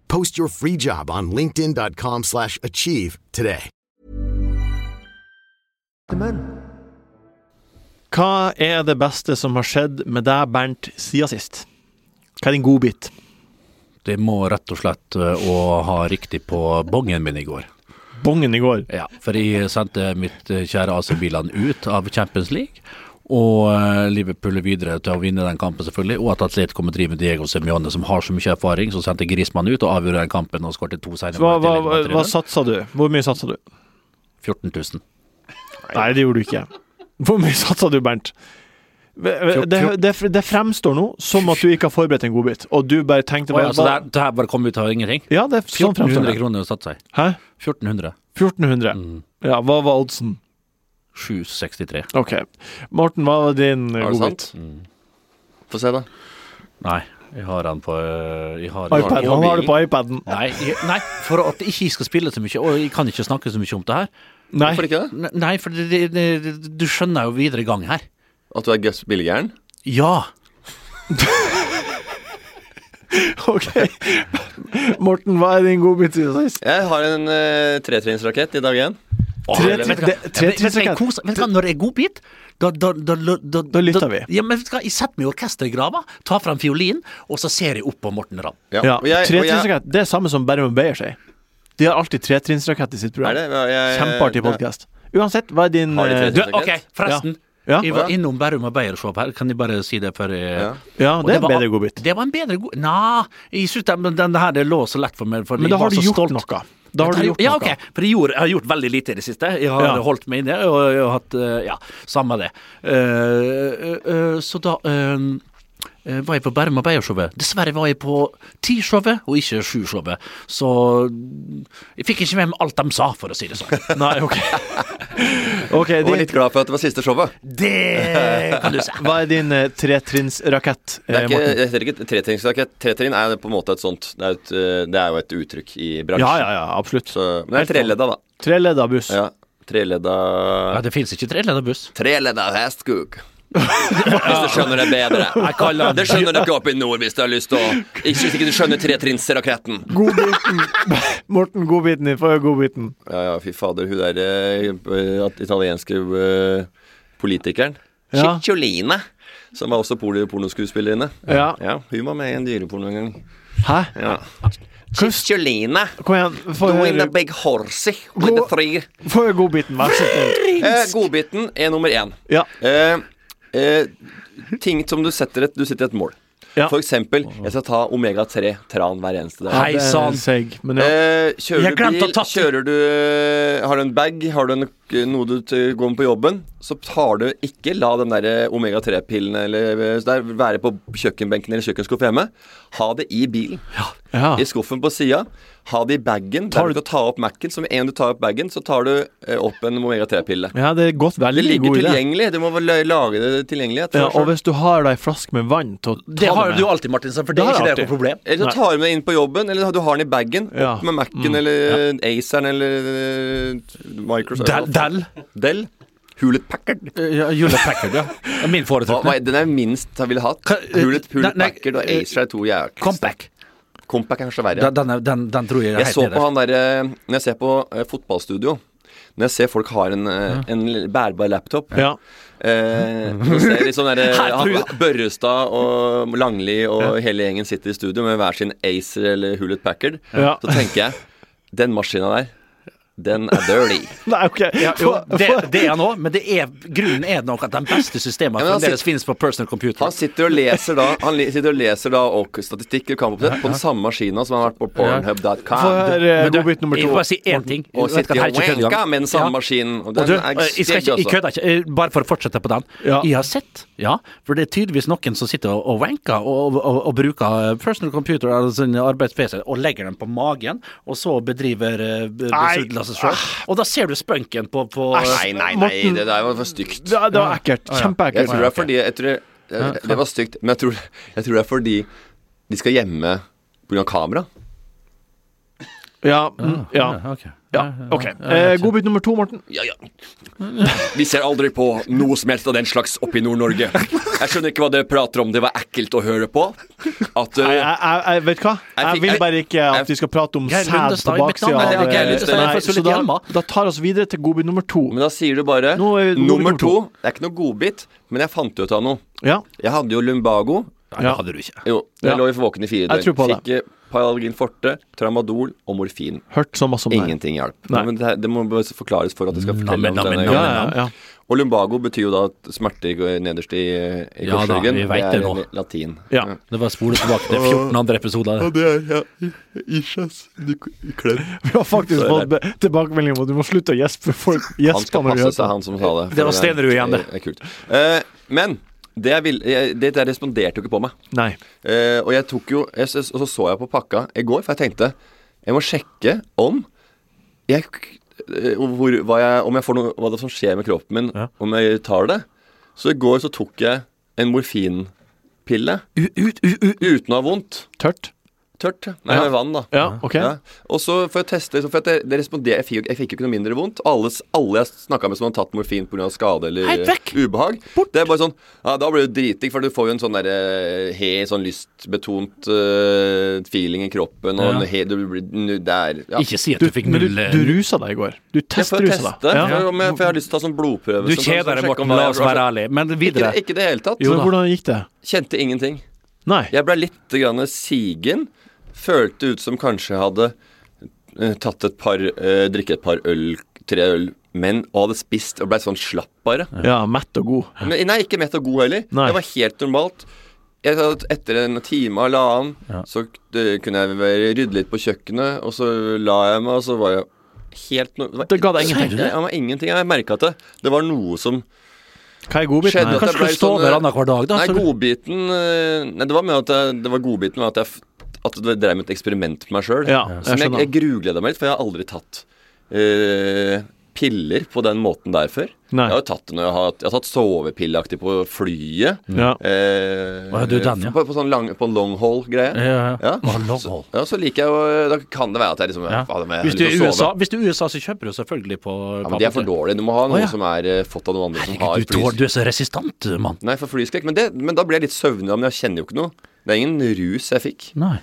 Speaker 6: Post your free job on linkedin.com/achieve slash achieve today.
Speaker 4: Hva er det beste som har skjedd med deg, Bernt, siden sist? Hva er din godbit?
Speaker 5: Det må rett og slett eh, å ha riktig på bongen min i går.
Speaker 4: Bongen i går.
Speaker 5: Ja, for jeg sendte mitt eh, kjære AC Milan ut av Champions League. Og eh, Liverpool er videre til å vinne den kampen, selvfølgelig. Og at Atletico Madrid med Diego Semione, som har så mye erfaring, så sendte Grismann ut og avgjorde den kampen og skåret to senere.
Speaker 4: Hva, hva,
Speaker 5: mål i
Speaker 4: hva,
Speaker 5: tillegg med
Speaker 4: hva
Speaker 5: 3-0.
Speaker 4: satsa du? Hvor mye satsa du?
Speaker 5: 14 000.
Speaker 4: Nei, det gjorde du ikke. Hvor mye satsa du, Bernt? Det, det, det fremstår nå som at du ikke har forberedt en godbit, og du bare tenkte
Speaker 5: Å ja,
Speaker 4: bare,
Speaker 5: så det, her- det her bare kom ut av ingenting?
Speaker 4: Ja, det er sånn fremstår
Speaker 5: 1400
Speaker 4: det.
Speaker 5: kroner å satse seg.
Speaker 4: Hæ?
Speaker 5: 1400.
Speaker 4: 1400.
Speaker 5: Mm.
Speaker 4: Ja, hva var oddsen?
Speaker 5: 763.
Speaker 4: OK. Morten, hva var din eh,
Speaker 3: Er det
Speaker 4: godbit?
Speaker 3: sant? Få se, da.
Speaker 5: Nei, jeg har han på øh, jeg har,
Speaker 4: iPad. Han har det på iPaden.
Speaker 5: Nei, jeg, nei, for at jeg ikke skal spille så mye, og jeg kan ikke snakke så mye om det her.
Speaker 4: Nei.
Speaker 3: Hvorfor ikke det?
Speaker 5: Ne- Nei, for det, det, det, du skjønner jo videre gang her.
Speaker 3: At du er gøss billigæren?
Speaker 5: Ja.
Speaker 4: OK. Morten, hva er din godbit siden sist?
Speaker 3: Jeg har en eh, tretrinnsrakett i dag igjen.
Speaker 4: Tre
Speaker 3: det-
Speaker 4: til- det- tre
Speaker 5: Vet- vet du hva, jeg
Speaker 4: tilsakene.
Speaker 5: koser- vet du hva, når det er godbit, da, da, da, da, da,
Speaker 4: Da lytter vi.
Speaker 5: Ja, men vet du hva, Jeg setter meg i orkestergrava, tar fram fiolinen, og så ser jeg opp på Morten Ramm.
Speaker 4: Ja,
Speaker 3: og jeg- og jeg-
Speaker 4: Tretrinnsrakett det er samme som Bærum Beyer sier. De har alltid tretrinnsrakett i sitt program.
Speaker 3: Er det? Ja, jeg-
Speaker 4: Kjempeartig
Speaker 3: ja.
Speaker 4: podkast. Uansett, hva er din
Speaker 3: Har de
Speaker 4: eh,
Speaker 3: tretrinns-
Speaker 5: Du,
Speaker 3: Helt
Speaker 5: OK,
Speaker 3: greit.
Speaker 5: forresten.
Speaker 4: Ja.
Speaker 5: Jeg var innom Bærum og Beyer-shop her, kan jeg bare si det før jeg
Speaker 3: Ja.
Speaker 4: Ja,
Speaker 5: Og
Speaker 4: det er en
Speaker 5: var-
Speaker 4: bedre godbit.
Speaker 5: Det var en bedre god... Nja, jeg synes den, men den her det lå så lett for meg. For
Speaker 4: Men
Speaker 5: jeg
Speaker 4: da har
Speaker 5: var
Speaker 4: du
Speaker 5: så
Speaker 4: gjort
Speaker 5: stolt.
Speaker 4: noe. Da har du gjort
Speaker 5: ja,
Speaker 4: noe.
Speaker 5: ok, for jeg, gjorde, jeg har gjort veldig lite i det siste. Jeg har
Speaker 4: Ja.
Speaker 5: holdt meg inne og, jeg har hatt eh, Ja, samme det. Eh, eh, eh, så da eh, eh, var jeg på Bærum og Beyer-showet. Dessverre var jeg på ti-showet og ikke sju-showet. Så jeg fikk ikke med meg alt de sa, for å si det sånn.
Speaker 4: Nei, ok. Ok,
Speaker 3: Jeg var
Speaker 4: din,
Speaker 3: litt glad for at det var siste showet.
Speaker 5: Det kan du si.
Speaker 4: Hva er din eh, tretrinnsrakett, eh,
Speaker 3: Det er ikke,
Speaker 4: Morten?
Speaker 3: det heter ikke tretrinnsrakett. Tretrinn er på en måte et sånt Det er, et, eh, det er jo et uttrykk i bransjen.
Speaker 4: Ja, sånn. ja, ja, absolutt.
Speaker 3: Så, men det er treledda, da.
Speaker 4: Treledda buss.
Speaker 3: Ja, treledda
Speaker 5: Ja, det fins ikke treleda buss.
Speaker 3: Treledda hestkuk. Hvis du skjønner det bedre. Det skjønner dere oppe i nord hvis du har lyst til å Ikke- Hvis ikke du skjønner tretrinnsraketten.
Speaker 4: Godbiten. Morten, godbiten din. Få høre godbiten.
Speaker 3: Ja, ja, fy fader. Hun der eh, at- italienske eh, politikeren.
Speaker 4: Ja.
Speaker 3: Ciccioline. Som var også poli- pornoskuespillerinne.
Speaker 4: Ja.
Speaker 3: ja, hun var med i en dyreporno en gang.
Speaker 4: Hæ?
Speaker 3: Ja.
Speaker 4: Hvordan-
Speaker 3: Ciccioline.
Speaker 4: Kom igjen, få
Speaker 3: Doing the
Speaker 4: høre,
Speaker 3: big horsey with the
Speaker 4: Gå-
Speaker 3: three.
Speaker 4: få høre godbiten, vær så snill.
Speaker 3: Eh, godbiten er nummer én.
Speaker 4: Ja.
Speaker 3: Eh, eh, ting som du setter et, du sitter i et mål.
Speaker 4: Ja.
Speaker 3: For eksempel, jeg skal ta Omega-3 tran hver eneste dag.
Speaker 5: Hei sann!
Speaker 4: Seig, men ja.
Speaker 3: Eh, kjører
Speaker 5: Jeg
Speaker 3: du
Speaker 5: glemte å
Speaker 3: bil,
Speaker 5: ta-
Speaker 3: kjører du eh, Har du en bag, har du en, noe du t- går med på jobben, så tar du ikke la den der omega-3-pillen eller eh, der være på kjøkkenbenken eller kjøkkenskuffen hjemme. Ha det i bilen.
Speaker 4: Ja.
Speaker 3: I skuffen på sida. Ha det i bagen. Der du kan ta opp Mac-en. Som en du tar opp bagen, så tar du eh, opp en omega-3-pille.
Speaker 4: ja, det er godt
Speaker 3: Det
Speaker 4: veldig
Speaker 3: ligger
Speaker 4: god idé.
Speaker 3: tilgjengelig. Du må vel lage det tilgjengelig.
Speaker 4: Ja,
Speaker 3: etter
Speaker 4: og
Speaker 3: deg selv.
Speaker 4: hvis du har da ei flaske med vann til å ta
Speaker 5: Det har
Speaker 4: med
Speaker 5: du jo alltid, Martinsen, for det
Speaker 4: Det
Speaker 5: er
Speaker 4: har
Speaker 5: ikke
Speaker 4: jeg
Speaker 5: det noe problem.
Speaker 3: Eller så tar du med den inn på jobben, eller du har den i bagen.
Speaker 4: Ja.
Speaker 3: Opp med Mac-en eller Aceren eller eh, Microsoft.
Speaker 5: Del, del.
Speaker 3: Dell. Hulet Packard.
Speaker 5: Ja, Jule Packard, ja. Det er Min
Speaker 3: Hva, hva,
Speaker 5: foretrukne.
Speaker 3: den er minst jeg ville hatt.
Speaker 5: Ka- eh,
Speaker 3: Hulet, Hulet
Speaker 5: nei, nei,
Speaker 3: Packard og
Speaker 5: eh,
Speaker 3: Acer er to jævlig
Speaker 5: Compact.
Speaker 3: Compact er kanskje verre.
Speaker 5: Den, den, er- den, den tror jeg er
Speaker 3: Jeg
Speaker 5: helt
Speaker 3: så på
Speaker 5: nederst.
Speaker 3: han derre Når jeg ser på eh, fotballstudio Når jeg ser folk har en, eh, en l- bærbar laptop
Speaker 4: Ja.
Speaker 3: eh, så ser jeg liksom der, eh,
Speaker 5: Her tror jeg-
Speaker 3: han- Børrestad og Langli og hele gjengen sitter i studio med hver sin Acer eller Hulet Packard.
Speaker 4: Ja.
Speaker 3: Så tenker jeg Den maskina der, den er dirty.
Speaker 4: Nei, ok.
Speaker 5: Ja, jo, det, det er han òg, men det er, grunnen er nok at de beste systemene
Speaker 3: Ja, men han
Speaker 5: fremdeles
Speaker 3: sitter-
Speaker 5: finnes på personal computer.
Speaker 3: Han sitter og leser da Han li- sitter og leser da og statistikk og kampoppsett på den samme maskina som han har vært på
Speaker 4: Få
Speaker 3: pornhub.com.
Speaker 4: høre eh,
Speaker 5: Men du,
Speaker 4: godbit nummer
Speaker 5: jeg
Speaker 4: to.
Speaker 5: vil bare si én ting.
Speaker 3: Og
Speaker 5: Vet du
Speaker 3: sitter og
Speaker 5: hva, det er ikke
Speaker 3: wanker
Speaker 5: kødd
Speaker 3: med den samme
Speaker 5: engang.
Speaker 3: maskinen. Og
Speaker 5: Og
Speaker 3: den
Speaker 5: du, eh,
Speaker 3: er
Speaker 5: jeg skal
Speaker 3: stygg,
Speaker 5: ikke, jeg
Speaker 3: altså.
Speaker 5: kødder ikke. Eh, Bare for å fortsette på den.
Speaker 4: Ja.
Speaker 5: Jeg har sett, ja, for det er tydeligvis noen som sitter og, og wanker og, og, og bruker eh, personal computer eller sin arbeids-PC og legger den på magen, og så bedriver eh, be-
Speaker 4: Nei. Ah.
Speaker 5: besudlelse selv. Og da ser du spunken på, på
Speaker 3: Nei, nei, nei,
Speaker 4: Morten.
Speaker 3: det der var for stygt.
Speaker 4: Ja, det var ekkelt.
Speaker 3: Jeg
Speaker 4: Kjempeekkelt.
Speaker 3: tror det er fordi jeg tror, jeg, Det var stygt, men jeg tror, jeg tror det er fordi de skal gjemme pga. kamera.
Speaker 4: Ja. mm, ja.
Speaker 5: Ok.
Speaker 4: ja. Ok. Eh, godbit nummer to, Morten.
Speaker 3: Ja, ja. Vi ser aldri på noe som helst av den slags oppe i Nord-Norge. Jeg skjønner ikke hva dere prater om. Det var ekkelt å høre på. At
Speaker 4: Nei,
Speaker 3: eh,
Speaker 4: jeg, jeg, jeg vet hva.
Speaker 3: Jeg
Speaker 4: Jeg
Speaker 3: fikk-
Speaker 4: vil
Speaker 3: jeg-
Speaker 4: bare ikke
Speaker 3: jeg-
Speaker 4: at vi skal prate om
Speaker 5: Geir
Speaker 4: sæd på
Speaker 5: Lundestad i
Speaker 4: baksida
Speaker 5: Beklager,
Speaker 4: av
Speaker 5: ja, Geir Lundestad, jeg
Speaker 4: Nei,
Speaker 5: får så
Speaker 4: Så
Speaker 5: litt
Speaker 4: da,
Speaker 5: hjelm av.
Speaker 4: da tar oss videre til godbit nummer to.
Speaker 3: Men da sier du bare
Speaker 4: Nå er vi-
Speaker 3: Nummer
Speaker 4: nummer
Speaker 3: to.
Speaker 4: to.
Speaker 3: Det er ikke noe godbit, men jeg fant ut av noe.
Speaker 4: Ja.
Speaker 3: Jeg hadde jo lumbago.
Speaker 5: Nei, det hadde du ikke.
Speaker 3: Jo, jeg
Speaker 4: Ja.
Speaker 3: lå i våken i fire
Speaker 4: Jeg tror på
Speaker 3: døgn.
Speaker 4: det.
Speaker 3: Fikk eh, Paralgin forte, tramadol og morfin.
Speaker 4: Hørt så masse om det.
Speaker 3: Ingenting hjalp.
Speaker 4: Nei.
Speaker 3: Men det, her- det må bare forklares for at det skal fortelle om
Speaker 5: Nammen,
Speaker 3: denne
Speaker 5: nammen,
Speaker 4: Ja,
Speaker 3: gangen.
Speaker 4: ja, ja.
Speaker 3: Og lumbago betyr jo da at smerte i- nederst i, i
Speaker 5: Ja da,
Speaker 3: korsryggen.
Speaker 5: vi vet det
Speaker 3: er
Speaker 5: nå.
Speaker 3: i latin.
Speaker 4: Ja.
Speaker 5: Det var spole tilbake til 14 andre episoder.
Speaker 3: det er ja, isjas klem.
Speaker 4: Vi har faktisk fått be- tilbakemelding om at du må slutte å gjespe. Folk
Speaker 3: Han skal
Speaker 4: gjesper når vi
Speaker 3: passe
Speaker 4: hører
Speaker 3: seg,
Speaker 4: på.
Speaker 3: han som sa det.
Speaker 5: Det var Stenerud igjen, det.
Speaker 3: er kult. Eh, men det, jeg vil, jeg, det der responderte jo ikke på meg.
Speaker 4: Nei.
Speaker 3: Eh, og jeg tok jo jeg, s- Og så så jeg på pakka i går, for jeg tenkte Jeg må sjekke om jeg, eh, hvor, hva jeg, Om jeg får noe Hva det er som skjer med kroppen min om jeg tar det. Så i går så tok jeg en morfinpille uten å ha vondt.
Speaker 4: Tørt?
Speaker 3: Tørt. Nei,
Speaker 4: Ja.
Speaker 3: med vann, da.
Speaker 4: Ja, ok.
Speaker 3: Ja. Og så for å teste liksom, For at jeg, det responderte, jeg, fikk, jo- jeg fikk jo ikke noe mindre vondt. Alle, s- alle jeg snakka med som hadde tatt morfin pga. skade eller
Speaker 5: Helt vekk!
Speaker 3: ubehag, det er bare sånn ja, Da blir du dritdigg, for du får jo en sånn derre he, sånn lystbetont eh, feeling i kroppen, og
Speaker 5: Ja.
Speaker 3: en he, du blir nu- der ja.
Speaker 5: Ikke si at
Speaker 4: Du,
Speaker 5: du fikk
Speaker 4: men du,
Speaker 5: null eh,
Speaker 4: du rusa deg i går. Du
Speaker 3: Jeg får
Speaker 4: testrusa
Speaker 3: teste,
Speaker 4: deg. Ja.
Speaker 3: for, om jeg, for jeg har lyst til å ta sånn blodprøve.
Speaker 5: Du
Speaker 3: så kan jeg
Speaker 5: kjeder deg,
Speaker 3: sjekke om
Speaker 5: Morten.
Speaker 3: hva
Speaker 5: La
Speaker 3: jeg-
Speaker 5: oss være ærlige. Men
Speaker 3: Ikke,
Speaker 5: videre.
Speaker 3: ikke det hele tatt. sånn,
Speaker 4: Så
Speaker 5: da.
Speaker 4: hvordan gikk det?
Speaker 3: Kjente ingenting.
Speaker 4: Nei.
Speaker 3: Jeg ble litt grann sigen. Følte ut som kanskje jeg hadde eh, tatt et par eh, Drikke et par øl, tre øl, men og hadde spist og ble sånn slapp bare.
Speaker 4: Ja, mett og god.
Speaker 3: Men, nei, ikke mett og god heller.
Speaker 4: Nei.
Speaker 3: Det var helt normalt. Jeg, sa at etter en time halvannen så eh, kunne jeg vel rydde litt på kjøkkenet, og så la jeg meg, og så var jeg helt no var-
Speaker 4: Det ga deg ingenting?
Speaker 3: Nei, det var ingenting. Jeg merka at det, det var noe som
Speaker 4: Hva er godbiten?
Speaker 3: skjedde.
Speaker 4: Nei.
Speaker 3: at jeg
Speaker 5: Kanskje
Speaker 3: ble
Speaker 5: du står
Speaker 3: sånn,
Speaker 5: der
Speaker 3: eh,
Speaker 5: annenhver dag, da?
Speaker 3: Nei,
Speaker 5: så du-
Speaker 3: godbiten eh, Nei, det var med at jeg, det var godbiten med at jeg f- at det drev med et eksperiment på meg sjøl.
Speaker 4: Ja, jeg
Speaker 3: som jeg,
Speaker 4: skjønner.
Speaker 3: jeg grugleda meg litt, for jeg har aldri tatt eh, piller på den måten der før.
Speaker 4: Nei.
Speaker 3: Jeg har jo tatt det når jeg har, hatt- jeg har tatt sovepilleaktig på flyet.
Speaker 4: Ja.
Speaker 3: Eh,
Speaker 5: Å, ja, du er den, ja.
Speaker 3: På, på sånn lang, på long greie
Speaker 5: Ja, ja.
Speaker 3: Ja.
Speaker 5: Å, long haul.
Speaker 3: Ja, så liker jeg jo Da kan det være at jeg liksom
Speaker 5: Ja.
Speaker 3: faen, jeg har
Speaker 5: Hvis du er
Speaker 3: lyst
Speaker 5: i
Speaker 3: til å
Speaker 5: USA,
Speaker 3: sove.
Speaker 5: hvis du er i USA, så kjøper du selvfølgelig på
Speaker 3: Ja, men de er for dårlige. Du må ha noe
Speaker 5: Å, ja.
Speaker 3: som er eh, fått av noen andre som har
Speaker 5: Herregud, du, tål, du er så resistant, mann.
Speaker 3: Nei, for flyskrekk. Men, det, men da ble jeg litt søvnig, da, men jeg kjenner jo ikke noe. Det er ingen rus jeg fikk.
Speaker 5: Nei.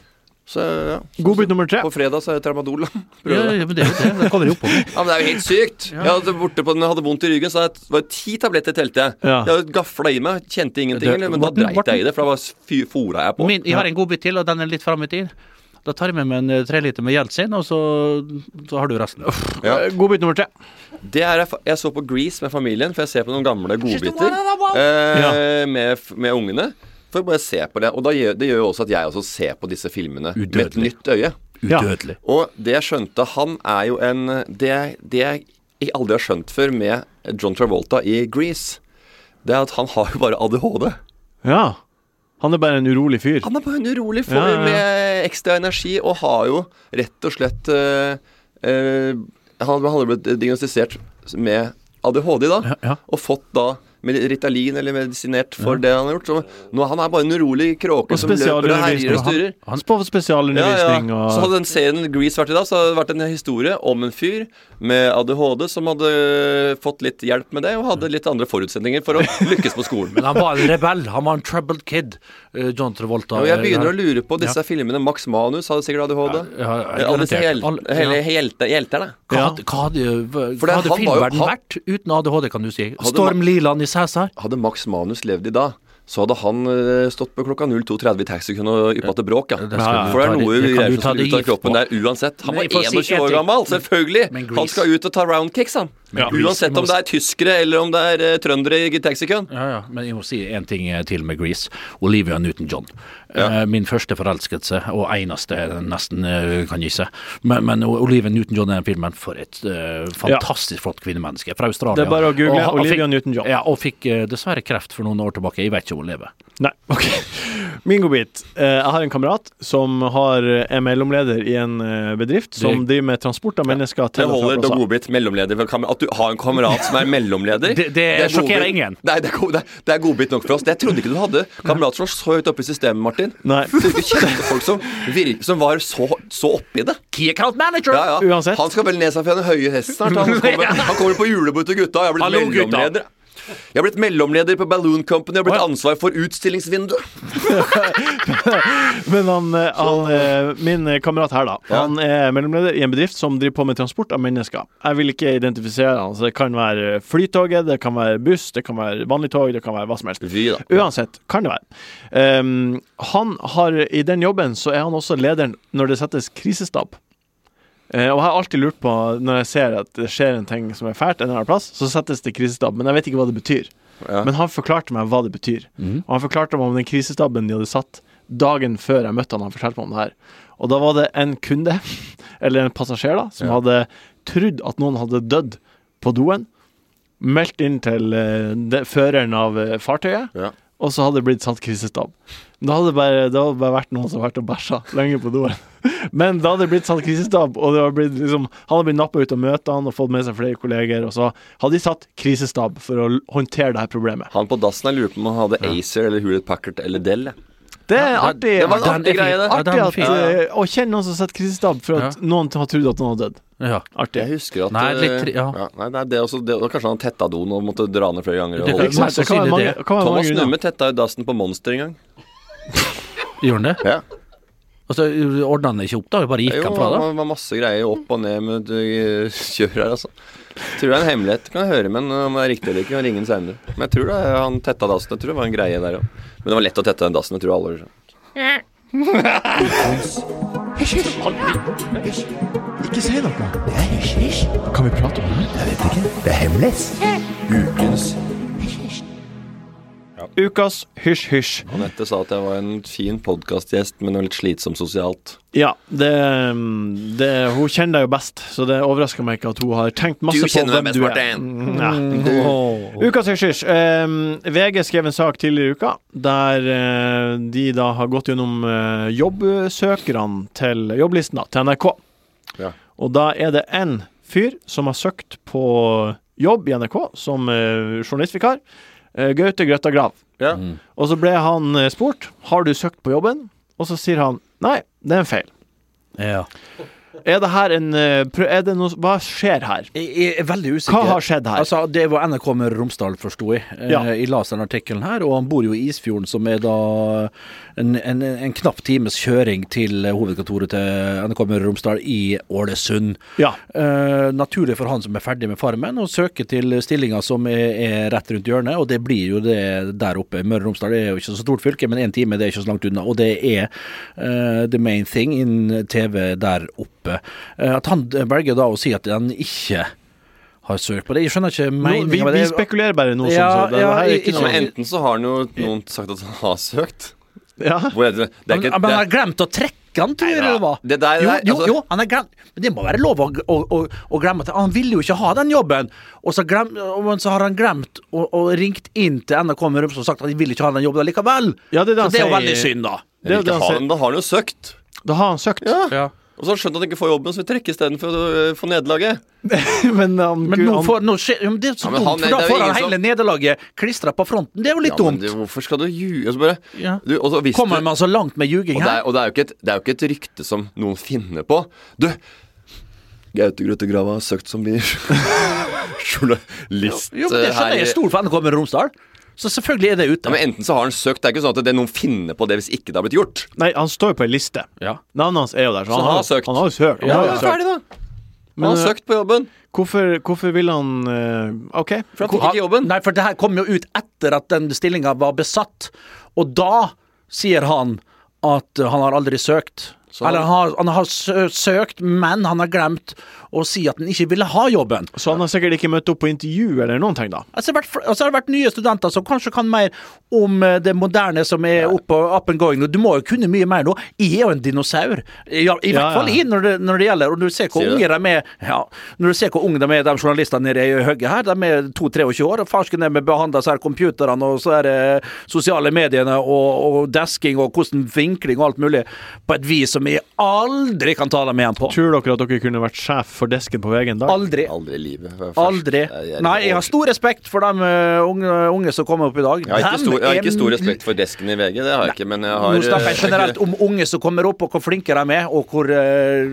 Speaker 3: Så ja.
Speaker 4: Godbit nummer tre.
Speaker 3: På fredag så er det tramadol. da. Prøv
Speaker 5: Ja,
Speaker 3: det.
Speaker 5: ja, men det, er jo det, det kommer jo på.
Speaker 3: Ja, men det er jo helt sykt! Jeg hadde borte på den, jeg hadde vondt i ryggen, så jeg det var jo ti tabletter telte jeg.
Speaker 4: Ja.
Speaker 3: Jeg hadde gafla i meg, kjente ingenting,
Speaker 5: Det-
Speaker 3: eller, men da
Speaker 5: Morten-
Speaker 3: dreit jeg i det, for da bare fy- fora jeg på.
Speaker 5: Min, jeg har en godbit til, og den er litt fram i tid. Da tar jeg med meg en eh, treliter med Jeltsin, og så, så har du resten.
Speaker 3: Ja.
Speaker 4: Eh, Godbit nummer tre.
Speaker 3: Det er, jeg- jeg så på Grease med familien, for jeg ser på noen gamle godbiter eh, med, med ungene. For å bare se på det. Og da gjør, det gjør jo også at jeg også ser på disse filmene med et
Speaker 5: Udødelig.
Speaker 3: nytt øye.
Speaker 5: Udødelig.
Speaker 3: Og det jeg skjønte, han er jo en Det, jeg- det jeg aldri har skjønt før med John Travolta i Grease, det er at han har jo bare ADHD.
Speaker 4: Ja. Han er bare en urolig fyr.
Speaker 3: Han er bare en urolig fyr
Speaker 4: Ja, ja, ja.
Speaker 3: med ekstra energi og har jo rett og slett eh, eh, Han hadde blitt diagnostisert med ADHD da,
Speaker 5: ja.
Speaker 3: og fått da med Ritalin eller medisinert for det han har gjort. Så nå, han er bare en urolig kråke
Speaker 4: Og
Speaker 3: som løper og herjer og
Speaker 4: spesialundervisning.
Speaker 3: styrer.
Speaker 4: Han spår for spesialundervisning og
Speaker 3: Så hadde den serien Grease vært i dag, så hadde det vært en historie om en fyr med ADHD som hadde fått litt hjelp med det, og hadde litt andre forutsetninger for å lykkes på skolen.
Speaker 5: Men han var en rebell. Han var en troubled kid, eh, John Travolta.
Speaker 3: Og jeg begynner å lure på disse filmene. Max Manus hadde sikkert ADHD.
Speaker 5: ja, ja,
Speaker 3: Alle disse hel,
Speaker 5: garantert. Alle-
Speaker 3: hele,
Speaker 5: ja.
Speaker 3: hjelte- hjelterne.
Speaker 5: Hva hadde, hva hadde, hva
Speaker 3: det-
Speaker 5: hadde
Speaker 3: han var jo-
Speaker 5: filmverden
Speaker 3: han-
Speaker 5: vært uten ADHD, kan du si?
Speaker 3: Hadde
Speaker 5: Storm
Speaker 3: man-
Speaker 5: Liland i Cæsar?
Speaker 3: Hadde Max Manus levd i dag, så hadde han eh, stått på klokka 02.30 i taxikøen og yppa til bråk, ja.
Speaker 5: skal du
Speaker 3: For det
Speaker 5: ta
Speaker 3: er
Speaker 5: det-
Speaker 3: noe
Speaker 5: det kan
Speaker 3: greier
Speaker 5: du
Speaker 3: som
Speaker 5: ta
Speaker 3: skal
Speaker 5: det
Speaker 3: ut av
Speaker 5: gift
Speaker 3: kroppen
Speaker 5: på.
Speaker 3: der uansett. Han
Speaker 5: Men
Speaker 3: var
Speaker 5: for å si
Speaker 3: 21 år
Speaker 5: en ting.
Speaker 3: gammel, selvfølgelig!
Speaker 5: Men Grease-
Speaker 3: Han skal ut og ta roundkicks, han. Uansett om det er tyskere eller om det er eh, trøndere i taxikøen.
Speaker 5: Ja, ja, men jeg må si en ting eh, til med Grease. Olivia Newton-John. Eh, Min første forelskelse, og eneste, nesten, eh, kan jeg si. Men, men Olivia Newton-John i den filmen, for et eh, fantastisk flott kvinnemenneske fra Australia.
Speaker 4: Det er bare å google
Speaker 5: Og han- han
Speaker 4: Olivia
Speaker 5: fikk-
Speaker 4: Newton-John.
Speaker 5: Ja, og fikk eh, dessverre kreft for noen år tilbake. Jeg vet ikke om hun lever.
Speaker 4: Nei, ok. Min godbit. Eh, Jeg har en kamerat som har, eh, er mellomleder i en eh, bedrift som driver med transport av mennesker
Speaker 3: Det
Speaker 4: til og fra
Speaker 3: holder til
Speaker 4: plasser.
Speaker 3: godbit mellomleder. for kamer- At du har en kamerat som er mellomleder
Speaker 5: Det- det sjokkerer ingen.
Speaker 3: Nei, det er, go- det, er- det er godbit nok for oss. Det jeg trodde ikke du hadde kamerater som var så høyt oppe i systemet, Martin.
Speaker 4: Nei.
Speaker 3: Du ikke kjente folk som, vir- som var så, så oppi det.
Speaker 5: Key account manager!
Speaker 3: Ja, ja.
Speaker 4: Uansett.
Speaker 3: Han skal vel ned seg fra den høye hest snart. Han kommer, han kommer på julebord til gutta. Jeg har blitt
Speaker 5: Hallo, gutta.
Speaker 3: mellomleder. Jeg har blitt mellomleder på Balloon Company. Jeg har blitt ansvar for utstillingsvinduet.
Speaker 4: Men han, eh, han, eh, min eh, kamerat her, da. Han er mellomleder i en bedrift som driver på med transport av mennesker. Jeg vil ikke identifisere han, så det kan være Flytoget, det kan være buss, det kan være vanlig tog, det kan være hva som helst.
Speaker 3: Vy, da.
Speaker 4: Uansett, kan det være. Um, han har, I den jobben så er han også lederen når det settes krisestab. Eh, og jeg har alltid lurt på, når jeg ser at det skjer en ting som er fælt, en eller annen plass, så settes det krisestab, men jeg vet ikke hva det betyr. Men han forklarte meg hva det betyr. Og han forklarte meg om den krisestaben de hadde satt dagen før jeg møtte han, han fortalte meg om det her. Og da var det en kunde, eller en passasjer, da, som hadde trodd at noen hadde dødd på doen, meldt inn til eh, de, føreren av eh, fartøyet,
Speaker 3: Ja.
Speaker 4: og så hadde det blitt satt krisestab. Da hadde det bare, det hadde bare vært noen som hadde vært og bæsja lenge på doen. Men da hadde det blitt satt krisestab, og det var blitt, liksom, han hadde blitt nappa ut av møtene og fått med seg flere kolleger, og så hadde de satt krisestab for å l- håndtere det her problemet.
Speaker 3: Han på dassen jeg lurer på om han hadde Acer eller Hewlett Packard eller Dell. jeg.
Speaker 4: Det er artig.
Speaker 3: Det var en
Speaker 5: Den er
Speaker 3: artig
Speaker 5: fin.
Speaker 3: greie, det.
Speaker 5: Ja, den
Speaker 4: artig
Speaker 5: er
Speaker 4: at,
Speaker 5: fin.
Speaker 4: eh, å kjenne noen som setter krisestab for at
Speaker 5: Ja.
Speaker 4: noen har trodd at noen har dødd.
Speaker 5: Ja.
Speaker 3: Jeg
Speaker 4: Artig.
Speaker 3: husker at eh,
Speaker 5: Nei, litt tri- ja.
Speaker 3: nei, nei, det er også, det, og Kanskje han tetta doen og måtte dra ned flere ganger. Og
Speaker 5: Det kan-
Speaker 3: holde. på.
Speaker 5: Mest
Speaker 4: Det kan være
Speaker 5: sannsynlig
Speaker 4: mange,
Speaker 5: det.
Speaker 4: kan være
Speaker 3: Thomas
Speaker 4: mange grunner.
Speaker 3: Numme tetta jo dassen på Monster en gang.
Speaker 5: Gjorde han det?
Speaker 3: Ja.
Speaker 5: Altså, ordna han det ikke opp, da? Bare gikk
Speaker 3: Jo,
Speaker 5: han fra
Speaker 3: det
Speaker 5: det?
Speaker 3: var- var masse greier opp og ned med eh, kjør her, altså. Tror det er en hemmelighet. Kan jeg høre men eh, om det er riktig eller ikke, kan jeg ringe den senere. Men jeg tror det, er- han tetta dassen. Jeg tror det var en greie der òg. Men det var lett å tette den dassen. Jeg tror alle
Speaker 4: Ukas hysj-hysj.
Speaker 3: Anette sa at jeg var en fin podkastgjest, men var litt slitsom sosialt.
Speaker 4: Ja, det, det, hun kjenner deg jo best, så det overrasker meg ikke at hun har tenkt masse
Speaker 3: Du
Speaker 4: på
Speaker 3: kjenner
Speaker 4: hvem
Speaker 3: meg best,
Speaker 4: du er.
Speaker 3: Martin.
Speaker 4: Mm, Ja. Ukas hysj-hysj. Ehm, VG skrev en sak tidligere i uka der eh, de da har gått gjennom eh, jobbsøkerne til jobblisten da, til NRK.
Speaker 3: Ja.
Speaker 4: Og da er det en fyr som har søkt på jobb i NRK som eh, journalistvikar. eh, Gaute Grøtta Grav.
Speaker 3: Ja.
Speaker 4: Og så ble han eh, spurt Har du søkt på jobben. Og så sier han nei, det er en feil.
Speaker 5: Ja.
Speaker 4: Er det her en eh, prø- er det noe, Hva skjer her?
Speaker 5: Jeg jeg er veldig usikker.
Speaker 4: Hva har skjedd her?
Speaker 5: Altså, det var NRK Møre og Romsdal, forsto jeg. Eh,
Speaker 4: Ja.
Speaker 5: Jeg leste den artikkelen her, og han bor jo i Isfjorden, som er da en, en, en knapp times kjøring til hovedkontoret til NRK Møre og Romsdal i Ålesund.
Speaker 4: Ja.
Speaker 5: Eh, naturlig for han som er ferdig med Farmen, å søke til stillinger som er, er rett rundt hjørnet, og det blir jo det der oppe. Møre og Romsdal er jo ikke så stort fylke, men én time det er ikke så langt unna, og det er eh, the main thing innen TV der oppe. Eh, at han velger da å si at han ikke har søkt på det. Jeg skjønner ikke
Speaker 4: Nå, vi,
Speaker 5: meningen med
Speaker 4: vi
Speaker 5: det.
Speaker 4: spekulerer bare nå, sånn,
Speaker 5: Ja,
Speaker 4: så det,
Speaker 5: ja,
Speaker 4: her er
Speaker 5: i-
Speaker 4: ikke
Speaker 5: i-
Speaker 3: Men
Speaker 4: noe
Speaker 3: enten så har noe, noen sagt at han har søkt.
Speaker 4: ja.
Speaker 3: Hvor er det, det er
Speaker 5: Men
Speaker 3: ikke
Speaker 5: men han har
Speaker 3: det,
Speaker 5: glemt å trekke han, tror jeg
Speaker 3: Nei,
Speaker 5: det var.
Speaker 3: det der-
Speaker 5: jo,
Speaker 3: der-
Speaker 5: jo,
Speaker 3: altså-
Speaker 5: jo, han har glemt Men det må være lov å, å, å, å glemme at Han ville jo ikke ha den jobben, og så, glem, og men så har han glemt å- og ringt inn til NRK med Romsdal og sagt at han ville ikke ha den jobben likevel.
Speaker 4: Ja, det er det han
Speaker 5: så det er jo
Speaker 4: sier.
Speaker 5: veldig synd, da.
Speaker 4: Det er jo det
Speaker 3: ikke
Speaker 4: han
Speaker 3: har
Speaker 4: sier.
Speaker 3: han, Da har han jo søkt.
Speaker 4: Da har han søkt.
Speaker 3: Og så har han skjønt at han ikke får jobben, så vil trekke istedenfor å øh, få nederlaget.
Speaker 4: Men, han,
Speaker 5: Men nå
Speaker 4: han-
Speaker 5: får, nå skjer, ja, men det er så
Speaker 3: Ja, men
Speaker 5: dumt,
Speaker 3: han-
Speaker 5: for da
Speaker 3: det er jo
Speaker 5: får han
Speaker 3: ingen som-
Speaker 5: hele nederlaget klistra på fronten. Det er jo litt
Speaker 3: Ja, men
Speaker 5: dumt.
Speaker 3: du, hvorfor skal du ljuge? Altså bare,
Speaker 5: Ja.
Speaker 3: du, og så hvis
Speaker 5: Kommer
Speaker 3: du-
Speaker 5: man så langt med ljuging
Speaker 3: Og det, er,
Speaker 5: her?
Speaker 3: og det, er jo ikke et, det er jo ikke et rykte som noen finner på. Du, Gaute Grøtte Grava har søkt som blir journalist
Speaker 5: Jo, men det
Speaker 3: eh,
Speaker 5: skjønner jeg. Jeg er stor for NRK med Romsdal, så selvfølgelig er det
Speaker 3: Ja,
Speaker 5: ute.
Speaker 3: men Enten så har han søkt, det er ikke sånn at det er noen finner på det hvis ikke det har blitt gjort.
Speaker 4: Nei, han står jo på ei liste.
Speaker 5: Ja.
Speaker 4: Navnet hans er jo der.
Speaker 3: Så han har søkt.
Speaker 4: Han har jo søkt. Han
Speaker 3: Ja,
Speaker 4: har jo
Speaker 3: ja,
Speaker 4: søkt.
Speaker 3: ferdig, da. Han har søkt på jobben.
Speaker 4: Hvorfor, hvorfor vil han eh, OK.
Speaker 3: For han fikk
Speaker 5: Ja,
Speaker 3: ikke jobben.
Speaker 5: Nei, for det her kom jo ut etter at den stillinga var besatt. Og da sier han at han har aldri søkt.
Speaker 3: han-
Speaker 5: Eller han har, han har sø- søkt, men han har glemt å si at han ikke ville ha jobben.
Speaker 4: Så han har sikkert ikke møtt opp på intervju eller noen ting, da.
Speaker 5: Altså, det har vært fl- altså, det har vært nye studenter som kanskje kan mer om eh, det moderne som er oppe og up and going. nå. Du må jo kunne mye mer nå. Jeg er jo en dinosaur. Ja, I hvert
Speaker 4: Ja,
Speaker 5: fall
Speaker 4: ja.
Speaker 5: jeg, når det, når det gjelder. Og når du ser hvor
Speaker 3: Sier du
Speaker 5: unge
Speaker 3: det?
Speaker 5: de er ja, Når du ser hvor unge de er, de journalistene nede i høgget her. De er 22-23 år. og Farsken er med behandla så her computerne og så er det sosiale mediene og, og desking og hvordan vinkling og alt mulig på et vis som jeg aldri kan ta dem igjen på.
Speaker 4: Tror dere at dere kunne vært sjef for desken på VG en dag?
Speaker 5: Aldri.
Speaker 3: Aldri i livet. Først. eh,
Speaker 5: Aldri.
Speaker 3: Jeg- jeg-
Speaker 5: Nei, jeg har stor respekt for de eh, unge, unge som kommer opp i dag.
Speaker 3: Jeg har, ikke
Speaker 5: Dem
Speaker 3: stor, jeg har ikke stor
Speaker 5: er-
Speaker 3: respekt for desken i VG, det har jeg ikke, men jeg har
Speaker 5: Nå snakker jeg
Speaker 3: eh,
Speaker 5: generelt om unge som kommer opp, og hvor flinke de er, og hvor, eh,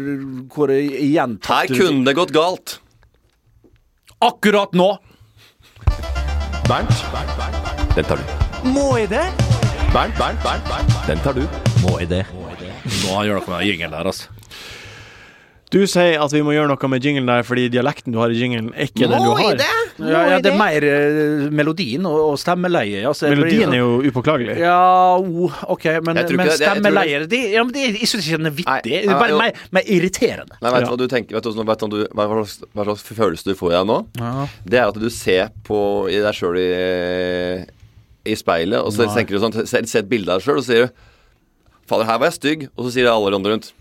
Speaker 5: hvor
Speaker 3: Her
Speaker 5: gjentatt
Speaker 3: kunne det gått galt.
Speaker 5: Akkurat nå!
Speaker 3: Den tar du. Må jeg det? Bernt, Bernt, Bernt, Bernt. Den tar du.
Speaker 5: Må jeg det? Nå gjør dere meg jingel der, altså.
Speaker 4: Du sier at vi må gjøre noe med jinglen der fordi dialekten du har i jinglen, er ikke den du har.
Speaker 5: Ja, ja, det er mer eh, melodien og, og stemmeleiet. Altså, jeg blir
Speaker 4: Melodien
Speaker 5: sånn-
Speaker 4: er jo upåklagelig.
Speaker 5: Ja, o, OK, men,
Speaker 3: Jeg tror ikke det- jeg
Speaker 5: men
Speaker 3: tror det-
Speaker 5: stemmeleier det, ja, men det, Jeg syns ikke den er
Speaker 3: Nei,
Speaker 5: vittig. Det er
Speaker 3: ja, jo.
Speaker 5: bare mer, mer irriterende.
Speaker 3: Nei, vet du
Speaker 4: Ja.
Speaker 3: hva du tenker vet du, hvordan- vet du, hva, slags, hva slags følelse du får igjen nå? Det er at du ser på i deg sjøl i, i speilet, og så tenker du sånn ser, ser et bilde av deg sjøl, og så sier du 'Fader, her var jeg stygg', og så sier alle andre rundt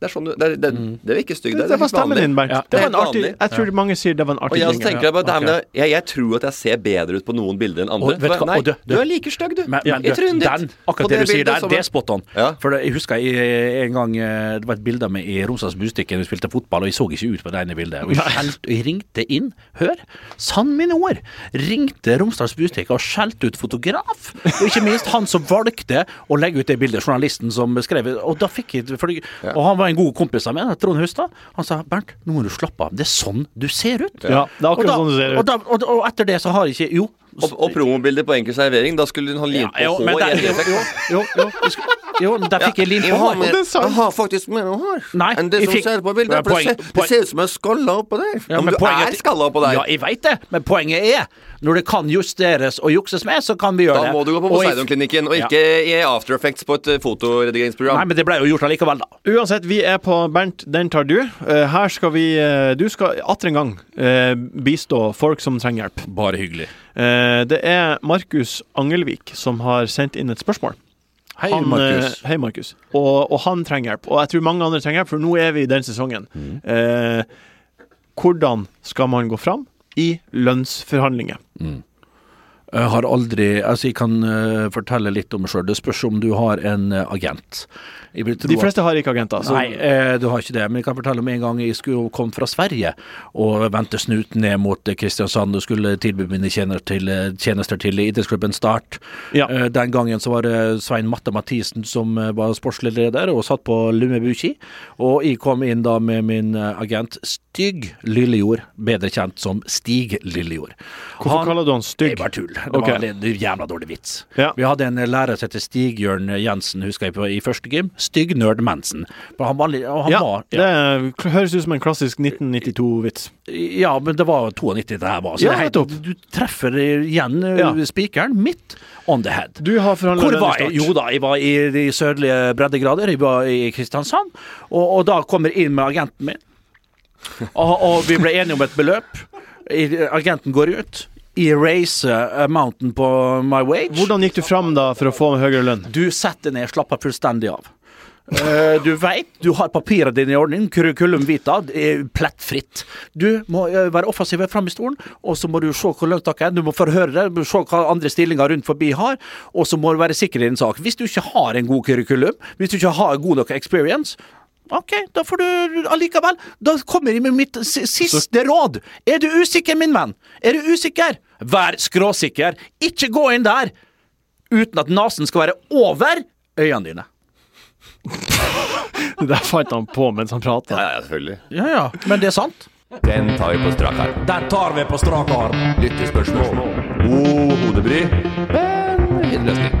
Speaker 3: det er sånn du, det, er- det,
Speaker 5: Mm.
Speaker 3: det er ikke stygg, det,
Speaker 4: Det,
Speaker 3: er- det er
Speaker 4: var stemmen
Speaker 3: vanlig.
Speaker 4: din, Bernt.
Speaker 3: Ja,
Speaker 4: det var
Speaker 3: helt
Speaker 4: en artig,
Speaker 3: vanlig.
Speaker 4: jeg tror mange sier det var en
Speaker 3: Og
Speaker 4: artig
Speaker 3: jeg, så
Speaker 4: jingle.
Speaker 3: tenker jeg, bare, det
Speaker 4: Ok.
Speaker 3: her med, jeg, jeg tror at jeg ser bedre ut på noen bilder enn andre.
Speaker 5: Og vet du hva?
Speaker 3: Nei,
Speaker 5: Og
Speaker 3: du,
Speaker 5: du- du-
Speaker 3: er like stygg, du.
Speaker 5: Men, men
Speaker 3: I
Speaker 5: du,
Speaker 3: trynet ditt.
Speaker 5: den, akkurat
Speaker 3: På
Speaker 5: det, du sier
Speaker 3: bildet
Speaker 5: der,
Speaker 3: som-
Speaker 5: det er spot on.
Speaker 3: Ja.
Speaker 5: For det, jeg husker jeg, en gang eh, det var et bilde av meg i Romsdals Budstikke da vi spilte fotball, og jeg så ikke ut på det ene bildet. Og jeg, skjelt, og jeg ringte inn, hør, sann mine ord, ringte Romsdals Budstikke og skjelte ut fotograf. Og ikke minst han som valgte å legge ut det bildet, journalisten som skrev Og da fikk jeg for, Og han var en god kompis av meg, Trond Hustad. Han sa Bernt, nå må du slappe av, det er sånn du ser ut.
Speaker 4: Ja, det er akkurat
Speaker 5: Og da-
Speaker 4: sånn du ser ut.
Speaker 5: Og, da, og, og etter det så har jeg ikke Jo.
Speaker 3: Og, og promobilder på enkel servering, da skulle hun ha limt på
Speaker 5: Ja, jo, men
Speaker 3: H i
Speaker 5: der-
Speaker 3: en effekt.
Speaker 5: jo, jo, jo, jeg skulle- jo, men der fikk jeg lim på
Speaker 3: mer-
Speaker 5: håret.
Speaker 3: jeg har faktisk mer hår
Speaker 5: Nei,
Speaker 3: enn det
Speaker 5: jeg
Speaker 3: som
Speaker 5: fikk-
Speaker 3: ser på bildet. For
Speaker 5: Nei,
Speaker 3: det
Speaker 5: poeng-
Speaker 3: ser- det
Speaker 5: poeng-
Speaker 3: ser ut som jeg er skalla oppå der.
Speaker 5: Ja,
Speaker 3: men, du er skalla oppå der.
Speaker 5: Ja, jeg veit det, men poenget er når det kan justeres og jukses med, så kan vi gjøre
Speaker 3: da
Speaker 5: det.
Speaker 3: må du gå på
Speaker 5: Og jeg-
Speaker 3: Poseidon-klinikken, og
Speaker 5: Ja.
Speaker 3: ikke i After Effects på et eh,
Speaker 5: Nei,
Speaker 3: fotoredigeringsprogram.
Speaker 5: men det ble jo gjort allikevel, da.
Speaker 4: Uansett, vi er på Bernt, den tar du. Eh, her skal vi eh, Du skal atter en gang eh, bistå folk som trenger hjelp.
Speaker 5: Bare hyggelig.
Speaker 4: Eh, det er Markus Angelvik som har sendt inn et spørsmål.
Speaker 5: Hei,
Speaker 4: Han,
Speaker 5: Markus.
Speaker 4: eh, hei, Markus. Og, og han trenger hjelp. Og jeg tror mange andre trenger hjelp, for nå er vi i den sesongen. Eh, hvordan skal man gå fram i lønnsforhandlinger?
Speaker 5: Jeg eh, har aldri Altså, jeg kan eh, fortelle litt om meg sjøl. Det spørs om du har en eh, agent. Jeg vil tro
Speaker 4: De
Speaker 5: at-
Speaker 4: fleste har ikke agenter. Så
Speaker 5: Nei, eh, du har ikke det. Men jeg kan fortelle om en gang jeg skulle komme fra Sverige og vendte snuten ned mot eh, Kristiansand og skulle tilby mine tjener til, eh, tjenester til idrettsklubben Start.
Speaker 4: Ja.
Speaker 5: Eh, Den gangen så var det Svein Matte Mathisen som eh, var sportslig leder og satt på Lummebuki. Og jeg kom inn da med min eh, agent Stygg Lillejord, bedre kjent som Stig Lillejord.
Speaker 4: hvorfor kaller du han
Speaker 5: Det
Speaker 4: stygg?
Speaker 5: var tull. Det
Speaker 4: Ok.
Speaker 5: var en jævla dårlig vits.
Speaker 4: Ja.
Speaker 5: Vi hadde en lærer som heter Stig-Jørn Jensen, husker jeg, på, i første gym. Stygg nerd Mansen. Men Han var, litt- og han
Speaker 4: Ja,
Speaker 5: var,
Speaker 4: det er- kl- høres ut som en klassisk 1992-vits.
Speaker 5: ja, men det var 92 det her var. Så
Speaker 4: Ja,
Speaker 5: det er helt-
Speaker 4: nettopp.
Speaker 5: du treffer igjen eh,
Speaker 4: Ja.
Speaker 5: spikeren midt on the head.
Speaker 4: Du har forhandlet
Speaker 5: Hvor
Speaker 4: lønn i
Speaker 5: var jeg?
Speaker 4: Start.
Speaker 5: Jo da, jeg var i de sørlige breddegrader. Jeg var i Kristiansand. Og, og da kommer jeg inn med agenten min. Og, og vi ble enige om et beløp. I- Agenten går ut. Jeg raiser a mountain på my wage.
Speaker 4: Hvordan gikk du fram da for å få en høyere lønn?
Speaker 5: Du setter ned, slapper fullstendig av. Eh, du veit, du har papirene dine i orden, curriculum vita, det er plettfritt. Du må eh, være offensiv fram i stolen, og så må du se hvor langt dere er, du må forhøre deg, du må se hva andre stillinger rundt forbi har, og så må du være sikker i din sak. Hvis du ikke har en god curriculum, hvis du ikke har god nok experience, OK, da får du allikevel Da kommer jeg med mitt si- siste råd. Er du usikker, min venn? Er du usikker? Vær skråsikker. Ikke gå inn der uten at nesen skal være over øynene dine.
Speaker 4: Det der fant han på mens han prata.
Speaker 3: Ja, ja, selvfølgelig.
Speaker 5: Ja, ja, men det er sant.
Speaker 3: Den tar vi på strak arm.
Speaker 5: Der tar vi på strak arm.
Speaker 3: Lyttespørsmål. God hodebry, men innløsning.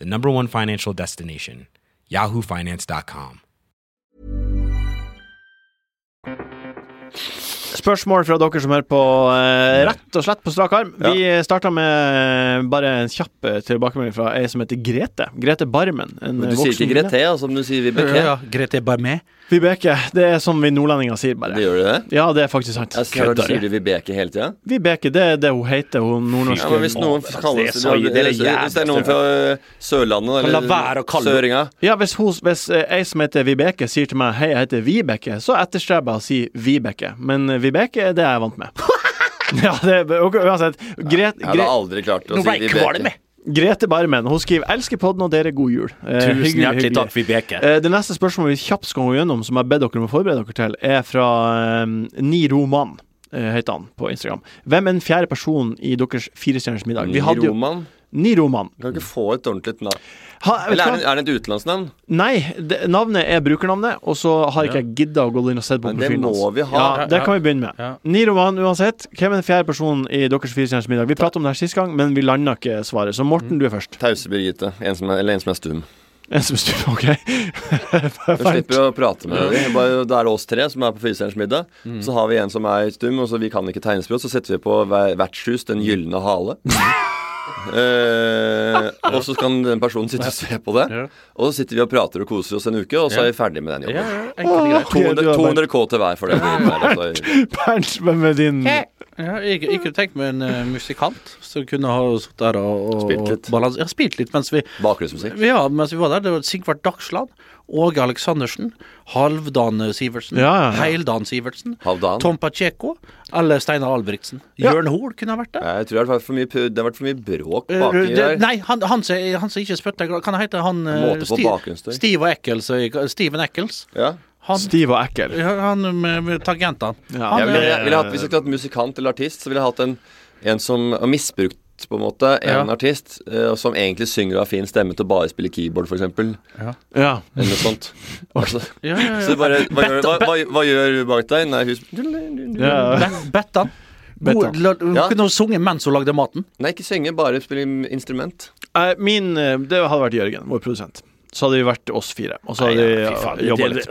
Speaker 7: the number one financial destination, yahoofinance.com.
Speaker 4: Spørsmål fra dere som hører på, eh, rett og slett på strak arm.
Speaker 3: Ja.
Speaker 4: Vi starta med bare en kjapp eh, tilbakemelding fra ei som heter Grete. Grete Barmen. En
Speaker 3: Men
Speaker 4: eh,
Speaker 3: du sier
Speaker 4: voksen
Speaker 3: ikke
Speaker 4: kvinne.
Speaker 3: Grete, ja, som du sier Vibeke.
Speaker 5: Ja, Grete Barmé.
Speaker 4: Vibeke. Det er som vi nordlendinger sier, bare.
Speaker 3: Det gjør du det?
Speaker 4: Ja, det er faktisk sant.
Speaker 3: Jeg ser at du
Speaker 4: Kødder.
Speaker 3: sier du Vibeke hele tida.
Speaker 4: Vibeke, det er det hun heter, hun nordnorske
Speaker 3: Ja, men hvis noen kaller
Speaker 5: det er
Speaker 3: seg
Speaker 5: så- det er
Speaker 3: Hvis det er noen fra øh, Sørlandet
Speaker 5: Kan la være å
Speaker 3: eller
Speaker 5: kalle-
Speaker 3: Søringa
Speaker 4: Ja, hvis, hun, hvis eh, ei som heter Vibeke sier til meg Hei, jeg heter Vibeke, så etterstreber jeg å si Vibeke. Men eh, Vibeke er det jeg er vant med. ja, det er ok, uansett. Gret,
Speaker 3: Jeg hadde
Speaker 4: Gre-
Speaker 3: aldri klart å
Speaker 5: Nå
Speaker 3: si
Speaker 5: ble jeg kvalm,
Speaker 3: Vibeke.
Speaker 5: jeg.
Speaker 4: Grete Barmen hun skriver 'Elsker podden og dere, god jul'. Eh,
Speaker 5: Tusen
Speaker 4: hyggelig,
Speaker 5: hjertelig
Speaker 4: hyggelig.
Speaker 5: takk, Vibeke.
Speaker 4: Eh, det neste spørsmålet vi kjapt skal gå gjennom, som jeg ber dere om å forberede dere til, er fra eh, Niro Mann, eh, heter han på Instagram. Hvem er den fjerde personen i deres Firestjerners middag? Vi hadde jo
Speaker 3: Roman.
Speaker 4: Niro Mann.
Speaker 3: Kan ikke få et ordentlig navn.
Speaker 4: Ha, vet du
Speaker 3: Eller
Speaker 4: hva?
Speaker 3: er det, er det et utenlandsnavn?
Speaker 4: Nei, det, navnet er brukernavnet, og så har ikke jeg gidda å gå inn og se på
Speaker 3: Men det
Speaker 4: profilen
Speaker 3: må vi ha.
Speaker 4: Ja, det kan vi begynne med. Niro Mann, uansett, hvem er den fjerde personen i deres Firestjerners middag? Vi pratet om det her sist gang, men vi landa ikke svaret, så
Speaker 5: Mm.
Speaker 4: Morten, du er først.
Speaker 3: Tause Birgitte. En som er, eller en som er stum.
Speaker 4: En som styrer, OK?
Speaker 3: Du slipper å prate med dem. Bare- Da er det oss tre som er på Fyristerens middag. Så har vi en som er stum, og så vi kan ikke tegnspråk. Så setter vi på hver- vertshus Den gylne hale. Eh, og så kan den personen sitte og se på det. Og så sitter vi og prater og koser oss en uke, og så er vi ferdig med den jobben.
Speaker 4: Åh,
Speaker 3: 200,
Speaker 4: du har
Speaker 3: 200 K til hver for det. eh,
Speaker 4: bare- Bernt, hvem er din
Speaker 5: Ja, jeg jeg kunne tenkt meg en eh, musikant som kunne ha sittet der og, og
Speaker 3: Spilt litt.
Speaker 5: og balans- Ja, spilt litt mens vi
Speaker 3: eh, Bakgrunnsmusikk.
Speaker 5: ja, mens vi var der, det var Sigvart Dagsland, Åge Aleksandersen, Halvdan Sivertsen,
Speaker 4: Ja, ja, ja.
Speaker 5: Heildan Sivertsen,
Speaker 3: Halvdan.
Speaker 5: Tom Pacheco eller Steinar Albrigtsen. Jørn Hoel kunne ha vært der.
Speaker 3: Eh, Jeg tror det har vært for mye, pu- det har vært for mye bråk
Speaker 5: Eh,
Speaker 3: baki
Speaker 5: det-
Speaker 3: der.
Speaker 5: Nei, han, han, som- han som ikke spytter Kan han hete han eh,
Speaker 3: Måte på
Speaker 5: Steve,
Speaker 3: bakgrunnsstøy.
Speaker 5: Steve og Eccles, eh, Steven Eccles?
Speaker 3: Ja.
Speaker 5: Han-
Speaker 4: Stiv og ekkel.
Speaker 5: Ja, han med, med tangentene. Han
Speaker 3: Jeg ville,
Speaker 5: er-
Speaker 3: jeg ville hatt, hvis jeg skulle
Speaker 5: Eh.
Speaker 3: hatt musikant eller artist, så ville jeg hatt en, en som har misbrukt på en måte, en
Speaker 5: Ja.
Speaker 3: artist eh, og som egentlig synger og har fin stemme til å bare spille keyboard, f.eks.
Speaker 5: Ja.
Speaker 4: Ja.
Speaker 3: Eller noe sånt. Altså,
Speaker 5: Ja, ja, ja.
Speaker 3: Så bare Hva gjør, hva, hva, hva gjør hun bak deg? Nei, hun
Speaker 4: Ja.
Speaker 5: Bet- Bettan.
Speaker 4: Bettan.
Speaker 5: God- la- Hun
Speaker 3: Ja.
Speaker 5: kunne sunge mens hun lagde maten.
Speaker 3: Nei, ikke synge, bare spille instrument.
Speaker 4: Eh, Min, eh, det hadde vært Jørgen, vår produsent. Så hadde vi vært oss fire. Og så hadde vi
Speaker 5: fy faen,
Speaker 4: ja, jobba
Speaker 5: det-
Speaker 4: litt.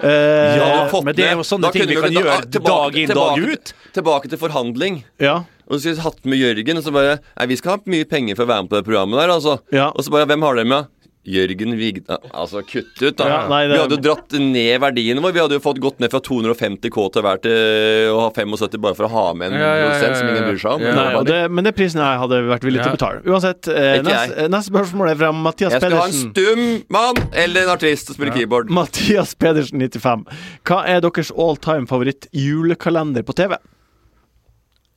Speaker 4: Eh,
Speaker 5: Ja,
Speaker 3: Du har fått
Speaker 5: men det er
Speaker 3: ned-
Speaker 5: jo sånne
Speaker 3: da
Speaker 5: ting
Speaker 3: kunne
Speaker 5: vi
Speaker 3: du-
Speaker 5: kan
Speaker 3: da-
Speaker 5: gjøre dag inn, dag ut.
Speaker 3: Tilbake til forhandling.
Speaker 4: ja.
Speaker 3: Og så skulle vi hatt med Jørgen, og så bare Nei, vi skal ha mye penger for å være med på det programmet der, altså.
Speaker 4: Ja.
Speaker 3: Og så bare Hvem har dere med? Jørgen Vigda Altså, kutt ut, da.
Speaker 4: Ja, nei, det-
Speaker 3: Vi hadde jo dratt ned verdien vår. Vi hadde jo fått gått ned fra 250 K til hver til å ha 75 bare for å ha med en
Speaker 5: Ja, ja, ja,
Speaker 3: produsent som ingen
Speaker 5: ja, ja.
Speaker 3: bryr seg om.
Speaker 5: Ja.
Speaker 4: Nei, og det, men det er prisen jeg hadde vært villig til å
Speaker 5: Ja.
Speaker 4: betale. Uansett, eh,
Speaker 3: Ikke jeg.
Speaker 4: neste, neste spørsmål er fra Mathias
Speaker 3: Jeg skulle ha en
Speaker 4: Pedersen.
Speaker 3: stum mann eller en artist som spiller keyboard.
Speaker 4: Mathias Pedersen 95. Hva er deres all time favoritt julekalender på TV?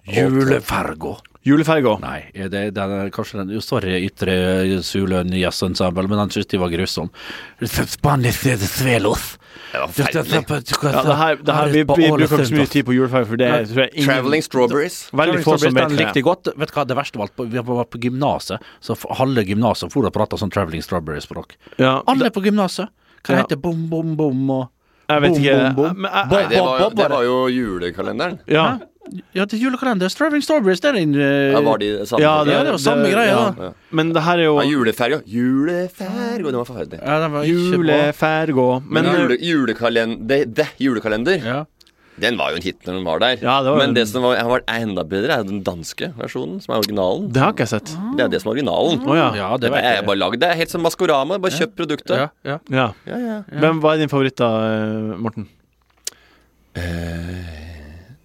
Speaker 5: Julefergo.
Speaker 4: Juleferga.
Speaker 5: Nei, er det, den er kanskje den jo, Sorry, Ytre Suløn Jazzensemble, men den synes de var grusom. Spanish Svelos.
Speaker 4: Ja, det her, det her, vi, vi bruker ikke så mye tid på juleferga, for det
Speaker 5: Nei.
Speaker 4: tror jeg ingen
Speaker 3: Traveling Strawberries.
Speaker 4: Veldig få som vet
Speaker 5: den
Speaker 4: hva
Speaker 5: likte
Speaker 4: det
Speaker 5: jeg godt. Vet du hva, det verste var at på- vi var på gymnaset, så f- halve gymnaset for å prate sånn Traveling Strawberry-språk.
Speaker 4: er. Ja,
Speaker 5: Alle på gymnaset. Hva
Speaker 4: Ja.
Speaker 5: heter bom, bom, bom og
Speaker 4: jeg vet
Speaker 5: bom,
Speaker 4: ikke
Speaker 5: bom, bom.
Speaker 4: Men eh, jeg-
Speaker 5: Bom,
Speaker 3: Nei, det
Speaker 5: bom,
Speaker 3: var, jo- det
Speaker 5: bom, bare.
Speaker 3: var jo julekalenderen.
Speaker 4: Ja.
Speaker 5: Ja, det er julekalender. Traveling Strawberries, det er en eh,
Speaker 3: Ja, var de det samme?
Speaker 4: Ja,
Speaker 5: det, ja, det var samme
Speaker 4: det-
Speaker 5: greia,
Speaker 4: ja.
Speaker 5: da.
Speaker 4: Men det her er jo
Speaker 3: Ja, juleferga. Juleferga, den var forferdelig.
Speaker 5: Ja, den var ikke bra.
Speaker 4: Juleferga. Men eh,
Speaker 3: Men jule, julekalender det, det julekalender,
Speaker 5: Ja.
Speaker 3: den var jo en hit når den var der.
Speaker 4: Ja, det var
Speaker 3: Men
Speaker 4: en-
Speaker 3: det som var, var enda bedre, er jo den danske versjonen, som er originalen.
Speaker 4: det har ikke jeg sett.
Speaker 3: Det er det som er originalen.
Speaker 4: Å ja.
Speaker 5: ja, det
Speaker 3: det
Speaker 5: vet
Speaker 3: er
Speaker 5: jeg.
Speaker 3: bare lagd. Det er helt som Maskorama, bare kjøp produktet.
Speaker 5: Ja, ja.
Speaker 4: ja.
Speaker 3: Ja, ja.
Speaker 4: Men hva er din favoritt, da, eh, Morten?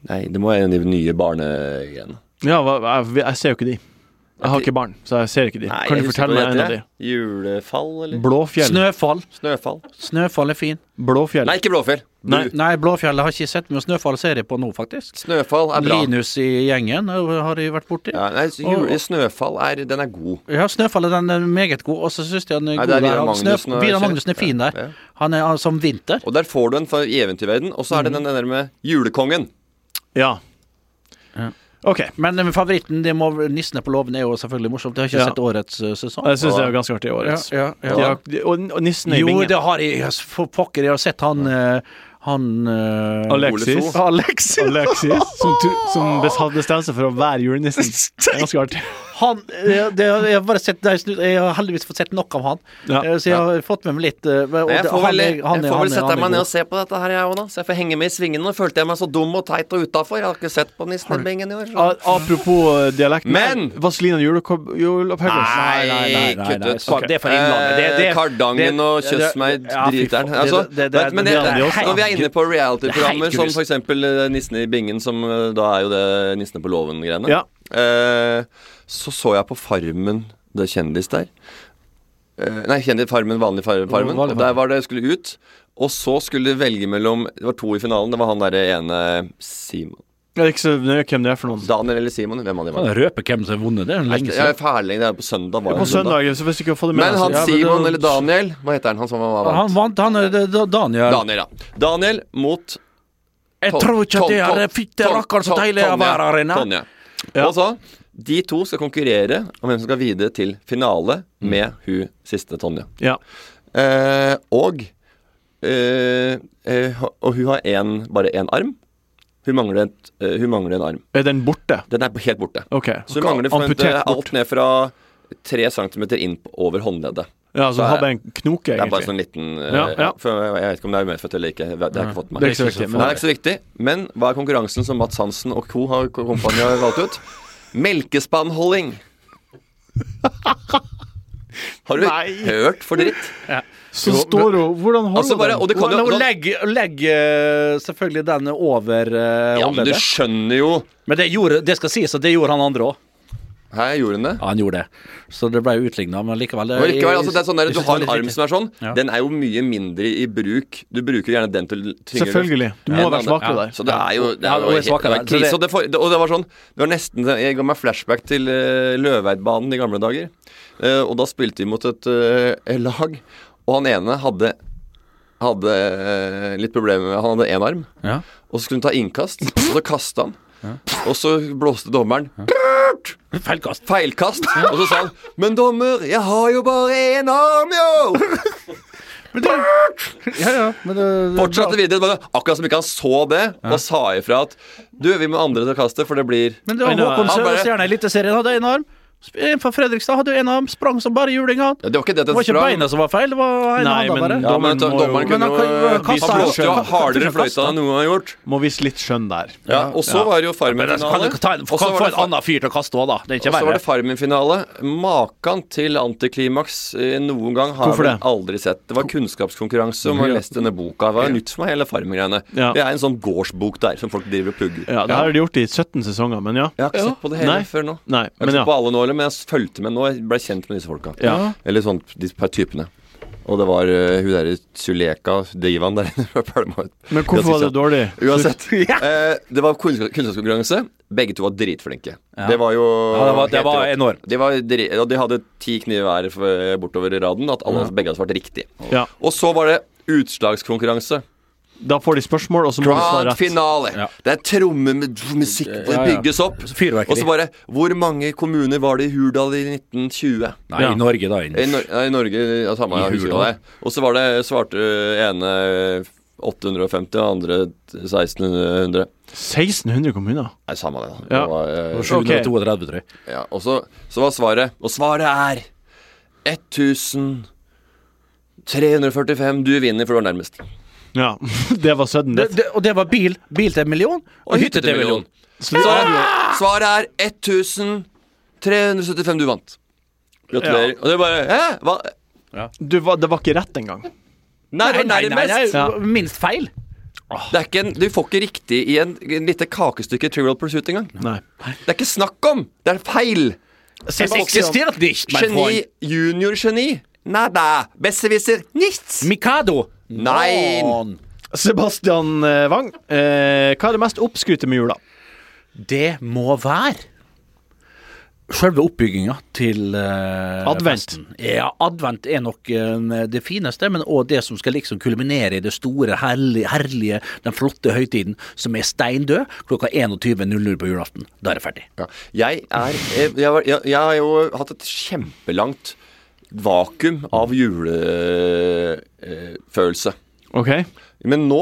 Speaker 3: Nei, det må være en av de nye barnegreiene.
Speaker 4: Ja, hva, jeg, jeg ser jo ikke de. Jeg har ikke barn, så jeg ser ikke de.
Speaker 3: Nei,
Speaker 4: kan du
Speaker 3: jeg husker
Speaker 4: fortelle meg
Speaker 3: ikke hva
Speaker 4: en
Speaker 3: det
Speaker 4: av de?
Speaker 3: heter, jeg. Julefall, eller?
Speaker 4: Blåfjell.
Speaker 5: Snøfall.
Speaker 3: Snøfall.
Speaker 5: Snøfall er fin.
Speaker 4: Blåfjell.
Speaker 3: Nei, ikke Blåfjell.
Speaker 4: Nei.
Speaker 3: Bru.
Speaker 5: Nei, Blåfjellet har ikke sett mye Snøfall-serie på nå, faktisk.
Speaker 3: Snøfall er bra.
Speaker 5: Linus i gjengen eh, har de vært borti.
Speaker 3: Ja, nei, så jule, Snøfall er Den er god.
Speaker 5: Ja, Snøfallet den er meget god, og så syns jeg han er
Speaker 3: Nei,
Speaker 5: god
Speaker 3: det er
Speaker 5: der.
Speaker 3: Vidar
Speaker 5: Han-
Speaker 3: Magnussen
Speaker 5: Snøf-
Speaker 3: og
Speaker 5: Vidar
Speaker 3: Kjell.
Speaker 5: Magnussen er fin
Speaker 3: Ja,
Speaker 5: der.
Speaker 3: ja.
Speaker 5: Han er altså, som vinter.
Speaker 3: Og der får du en fra eventyrverden, og så er det
Speaker 4: Mhm.
Speaker 3: den den der med julekongen.
Speaker 4: Ja. OK.
Speaker 5: Men eh, favoritten, det må Nissene på låven, er jo selvfølgelig morsomt. Jeg har ikke
Speaker 4: Ja.
Speaker 5: sett årets eh, sesong.
Speaker 4: Jeg syns det er ganske artig i årets.
Speaker 5: Ja, ja, ja.
Speaker 4: De har, de, og, og nissen er i
Speaker 5: Jo,
Speaker 4: bingen.
Speaker 5: det har jeg. yes, For pokker, jeg har sett han eh, Han eh,
Speaker 4: Alexis.
Speaker 5: Ole So. Alexis.
Speaker 4: Alexis, som, tu- som bes- hadde bestemt seg for å være julenissen. Det er ganske artig.
Speaker 5: Han, eh, det, jeg, har bare sett, jeg har heldigvis fått sett nok av han,
Speaker 4: Ja.
Speaker 5: Eh, så jeg har fått med meg litt. eh, og
Speaker 3: Nei, jeg
Speaker 5: det-
Speaker 3: får
Speaker 5: han
Speaker 3: vel,
Speaker 5: er- han er-
Speaker 3: jeg får
Speaker 5: han
Speaker 3: vel
Speaker 5: er-
Speaker 3: sette
Speaker 5: han er
Speaker 3: meg
Speaker 5: god.
Speaker 3: ned og se på dette her, jeg òg, da. Så jeg får henge med i svingene. Nå følte jeg meg så dum og teit og utafor. Jeg har ikke sett på Nissen i bingen i år.
Speaker 5: Ah,
Speaker 3: så-
Speaker 4: A apropos eh, dialekten
Speaker 3: Men-
Speaker 4: Vazelina juleopphøggelse.
Speaker 3: Nei,
Speaker 5: nei, nei, nei,
Speaker 3: kutt
Speaker 5: nei,
Speaker 3: ut.
Speaker 5: fuck, det er for Innlandet. Det- det-
Speaker 3: Eh, Kardangen
Speaker 5: det-
Speaker 3: og
Speaker 5: det-
Speaker 3: kyss meg,
Speaker 5: ja, fy
Speaker 3: driteren.
Speaker 5: faen.
Speaker 3: Altså,
Speaker 5: Det- det- det-
Speaker 3: men
Speaker 5: det-
Speaker 3: det,
Speaker 5: det- det-
Speaker 3: når vi er inne på reality-programmer,
Speaker 5: det er
Speaker 3: som
Speaker 5: helt
Speaker 3: for eksempel eh, Nissen i bingen, som eh, da er jo det Nissene på låven-greiene,
Speaker 4: Ja.
Speaker 3: eh, så så jeg på Farmen, det er kjendis der. Eh, nei, kjendis Farmen, vanlig far, Farmen.
Speaker 5: Vanlig
Speaker 3: Og der var det skulle ut. Og så skulle de velge mellom Det var to i finalen. Det var han derre ene Simon.
Speaker 4: Jeg er ikke så nøye hvem det er for noen.
Speaker 3: Daniel eller Simon? Hvem av de var det?
Speaker 5: Kan jeg Røpe hvem som har vunnet, det er jo
Speaker 3: Nei,
Speaker 5: lenge
Speaker 3: ikke- Ja,
Speaker 5: siden.
Speaker 3: Færling. Det er på søndag. Var det
Speaker 4: På søndag, så hvis du ikke har fått det med
Speaker 3: Men han
Speaker 4: deg, så-
Speaker 3: Simon
Speaker 5: da-
Speaker 3: eller Daniel Hva heter han? Han som var vant?
Speaker 5: Han vant, han er det- det- Daniel.
Speaker 3: Daniel, ja. Daniel mot
Speaker 5: Jeg
Speaker 3: Ton-
Speaker 5: tror ikke at
Speaker 3: Ton-
Speaker 5: jeg
Speaker 3: Ton-
Speaker 5: hadde fikk det
Speaker 3: Ton-
Speaker 5: rakkeren så
Speaker 3: Ton-
Speaker 5: deilig å
Speaker 3: Tonje.
Speaker 5: være her inne.
Speaker 3: Tonje. Og så De to skal konkurrere om hvem som skal videre til finale med
Speaker 5: Mm.
Speaker 3: hun siste Tonje.
Speaker 4: ja.
Speaker 3: Eh, og eh, eh, Og hun har en, bare én arm. Hun mangler, et, eh, hun mangler en arm.
Speaker 4: Er den borte?
Speaker 3: Den er helt borte.
Speaker 4: OK.
Speaker 3: Så hun mangler for- eh,
Speaker 4: Amputert bort.
Speaker 3: alt ned fra tre centimeter inn på- over håndleddet.
Speaker 4: Ja, så
Speaker 3: Så
Speaker 4: du har
Speaker 3: er-
Speaker 4: bare en knoke,
Speaker 3: Det er bare
Speaker 4: egentlig.
Speaker 3: sånn liten eh,
Speaker 4: Ja, ja.
Speaker 3: For Jeg vet ikke om det er medfødt eller ikke. Det har jeg ikke fått
Speaker 4: Det
Speaker 3: med
Speaker 4: er
Speaker 3: meg.
Speaker 4: ikke så viktig.
Speaker 3: Nei, det
Speaker 4: Men
Speaker 3: er ikke så viktig. Men hva er konkurransen som Mats Hansen og co. har kompani har valgt ut? Melkespannholding. Har du hørt for dritt?
Speaker 4: så står hun Hvordan holder
Speaker 3: Altså bare-
Speaker 4: den?
Speaker 3: og det kan jo-
Speaker 5: Nå
Speaker 3: nå-
Speaker 5: legger legg, eh, selvfølgelig den over eh,
Speaker 3: Ja, men du
Speaker 5: håndleddet.
Speaker 3: skjønner jo
Speaker 5: Men det, gjorde, det skal sies at det gjorde han andre òg.
Speaker 3: Her gjorde han det.
Speaker 5: Ja, han gjorde det. Så det ble utligna, men likevel eh,
Speaker 3: Men likevel, altså, det er sånn der,
Speaker 5: jeg
Speaker 3: Du
Speaker 5: synes
Speaker 3: har
Speaker 5: det
Speaker 3: en
Speaker 5: var
Speaker 3: arm
Speaker 5: litt
Speaker 3: som er sånn.
Speaker 5: Ja.
Speaker 3: Den er jo mye mindre i bruk. Du bruker gjerne den til tyngre
Speaker 4: Selvfølgelig. Du må
Speaker 3: Ja,
Speaker 4: være
Speaker 3: men-
Speaker 4: svakere
Speaker 5: ja.
Speaker 4: der.
Speaker 3: Så det er jo Det
Speaker 5: Ja,
Speaker 3: er
Speaker 5: og
Speaker 3: jo
Speaker 5: jeg
Speaker 3: helt-
Speaker 5: smaker
Speaker 3: det var
Speaker 5: det. Så det-
Speaker 3: krise. Og det, for, det, og det var sånn Det var nesten Jeg ga meg flashback til eh, Løveidbanen i gamle dager. Eh, og da spilte vi mot et eh, lag, og han ene hadde hadde eh, litt problemer med Han hadde én arm,
Speaker 5: Ja.
Speaker 3: og så skulle hun ta innkast, og så kasta han. Og så blåste dommeren.
Speaker 5: Feilkast.
Speaker 3: Feilkast. Og så sa han 'Men dommer, jeg har jo bare én arm, jo!'
Speaker 5: Ja, ja, men det,
Speaker 3: Fortsatte videre. Bare, akkurat som ikke han så det, og sa ifra at 'Du, vi må andre ta kastet, for det blir
Speaker 5: Men det var
Speaker 3: Han
Speaker 5: Håkon
Speaker 3: bare-
Speaker 5: Sørensen i Eliteserien. Hadde én arm. Sp- En fra Fredrikstad hadde én arm, sprang som bare juling. Han.
Speaker 3: Ja, Det var ikke det at den
Speaker 5: Det var ikke
Speaker 3: sprang.
Speaker 5: beina som var feil, det var ene
Speaker 4: Nei,
Speaker 5: handa
Speaker 4: men
Speaker 5: bare.
Speaker 3: Ja,
Speaker 4: Dommeren må
Speaker 3: men
Speaker 4: jo-
Speaker 3: dommeren
Speaker 5: Men
Speaker 3: kunne
Speaker 5: han
Speaker 3: jo
Speaker 5: kan jo
Speaker 3: Han
Speaker 5: kaste-
Speaker 3: blåste jo hardere i
Speaker 5: kaste.
Speaker 3: fløyta enn noen har gjort.
Speaker 4: Må vise litt skjønn der.
Speaker 3: Ja, og så var det jo
Speaker 5: Men det- kan
Speaker 3: Farmen-finale.
Speaker 5: du ta en,
Speaker 3: Og så
Speaker 5: kan
Speaker 3: var
Speaker 5: få
Speaker 3: det
Speaker 5: en
Speaker 3: Far-
Speaker 5: annen fyr til å kaste òg, da. Det er ikke
Speaker 3: Og så var
Speaker 5: verre.
Speaker 3: det Farmen-finale. Makan til antiklimaks eh, noen gang har
Speaker 4: Hvorfor
Speaker 3: jeg
Speaker 4: det?
Speaker 3: vel aldri sett. Det var kunnskapskonkurranse om å ha lest denne boka. Det var nytt for meg, hele Farmen-greiene.
Speaker 4: Ja.
Speaker 3: Det er en sånn gårdsbok der som folk driver og pugger.
Speaker 4: Ja, det her har de gjort i 17 sesonger, men ja.
Speaker 3: Jeg har ikke sett på det hele
Speaker 4: Nei.
Speaker 3: før nå.
Speaker 4: Nei,
Speaker 3: Jeg har
Speaker 4: men
Speaker 3: ikke
Speaker 4: ja.
Speaker 3: sett på alle nå, eller, men jeg fulgte med nå. Jeg ble kjent med disse folka.
Speaker 4: Ja.
Speaker 3: Eller sånn de par typene. Og det var eh, hun derre Suleka Divan der inne fra Palma.
Speaker 4: Men hvorfor var det dårlig?
Speaker 3: Uansett. Eh, det var kunnskap- kunnskapskonkurranse. Begge to var dritflinke. Det var jo
Speaker 5: Ja, det var- det
Speaker 3: helt
Speaker 5: var
Speaker 3: rått.
Speaker 5: enormt.
Speaker 3: De, var dri og de hadde ti kniver hver for- bortover i raden. At alle, begge hadde svart riktig.
Speaker 4: Ja.
Speaker 3: Og så var det utslagskonkurranse.
Speaker 4: Da får de spørsmål, og så må de svare
Speaker 3: Grand
Speaker 4: rett.
Speaker 3: finale.
Speaker 5: Ja.
Speaker 3: Det er trommemusikk Det
Speaker 5: Ja, ja.
Speaker 3: bygges opp.
Speaker 5: Fyrverkeri.
Speaker 3: Og så bare Hvor mange kommuner var det i Hurdal i 1920?
Speaker 5: Nei,
Speaker 4: Ja.
Speaker 5: i Norge, da.
Speaker 3: I,
Speaker 5: Inn.
Speaker 3: Nor ja, i Norge, ja, samme
Speaker 5: I
Speaker 3: jeg husker
Speaker 5: Hurdal.
Speaker 3: det. Og så var det svarte øh, ene 850, og andre 1600.
Speaker 4: 1600 kommuner.
Speaker 3: Nei, samme det. da.
Speaker 4: Ja.
Speaker 3: Det var, øh,
Speaker 4: sju-
Speaker 5: 732, tror jeg.
Speaker 3: ja. Og så, så var svaret Og svaret er 1345. Du vinner, for du var nærmest.
Speaker 4: Ja, det var sudden
Speaker 5: Det,
Speaker 4: death.
Speaker 5: det, og det var bil. Bil til en million, og hytte til en million.
Speaker 4: Så det
Speaker 3: Svaret, svaret er 1375. Du vant. Gratulerer. Og det er bare Hæ? Hva?
Speaker 4: Du, var- det var ikke rett engang.
Speaker 3: Nei, det var
Speaker 5: Nei, nei, nei,
Speaker 3: nærmest.
Speaker 4: Ja.
Speaker 5: minst feil.
Speaker 3: Det er ikke en, du får ikke riktig i en, en lite kakestykke Trivial Pursuit engang.
Speaker 4: Nei.
Speaker 3: Det er ikke snakk om! Det er feil!
Speaker 5: Es existiert nicht, mein
Speaker 3: Geni.
Speaker 5: Freund.
Speaker 3: Junior-geni. Nada. Besserwisser. Nichts.
Speaker 5: Mikado.
Speaker 3: Nein.
Speaker 5: Nein.
Speaker 4: Sebastian eh, Wang, eh, hva er det mest oppskrytte med jula?
Speaker 5: Det må være Selve oppbygginga til eh,
Speaker 4: Advent.
Speaker 5: festen. Ja, advent er nok eh, det fineste, men òg det som skal liksom kulminere i det store, herlige, herlige den flotte høytiden som er steindød klokka 21.00 på julaften. Da er det ferdig.
Speaker 3: Ja. Jeg er jeg, jeg, var- jeg, jeg har jo hatt et kjempelangt vakuum av julefølelse.
Speaker 4: Ok.
Speaker 3: Men nå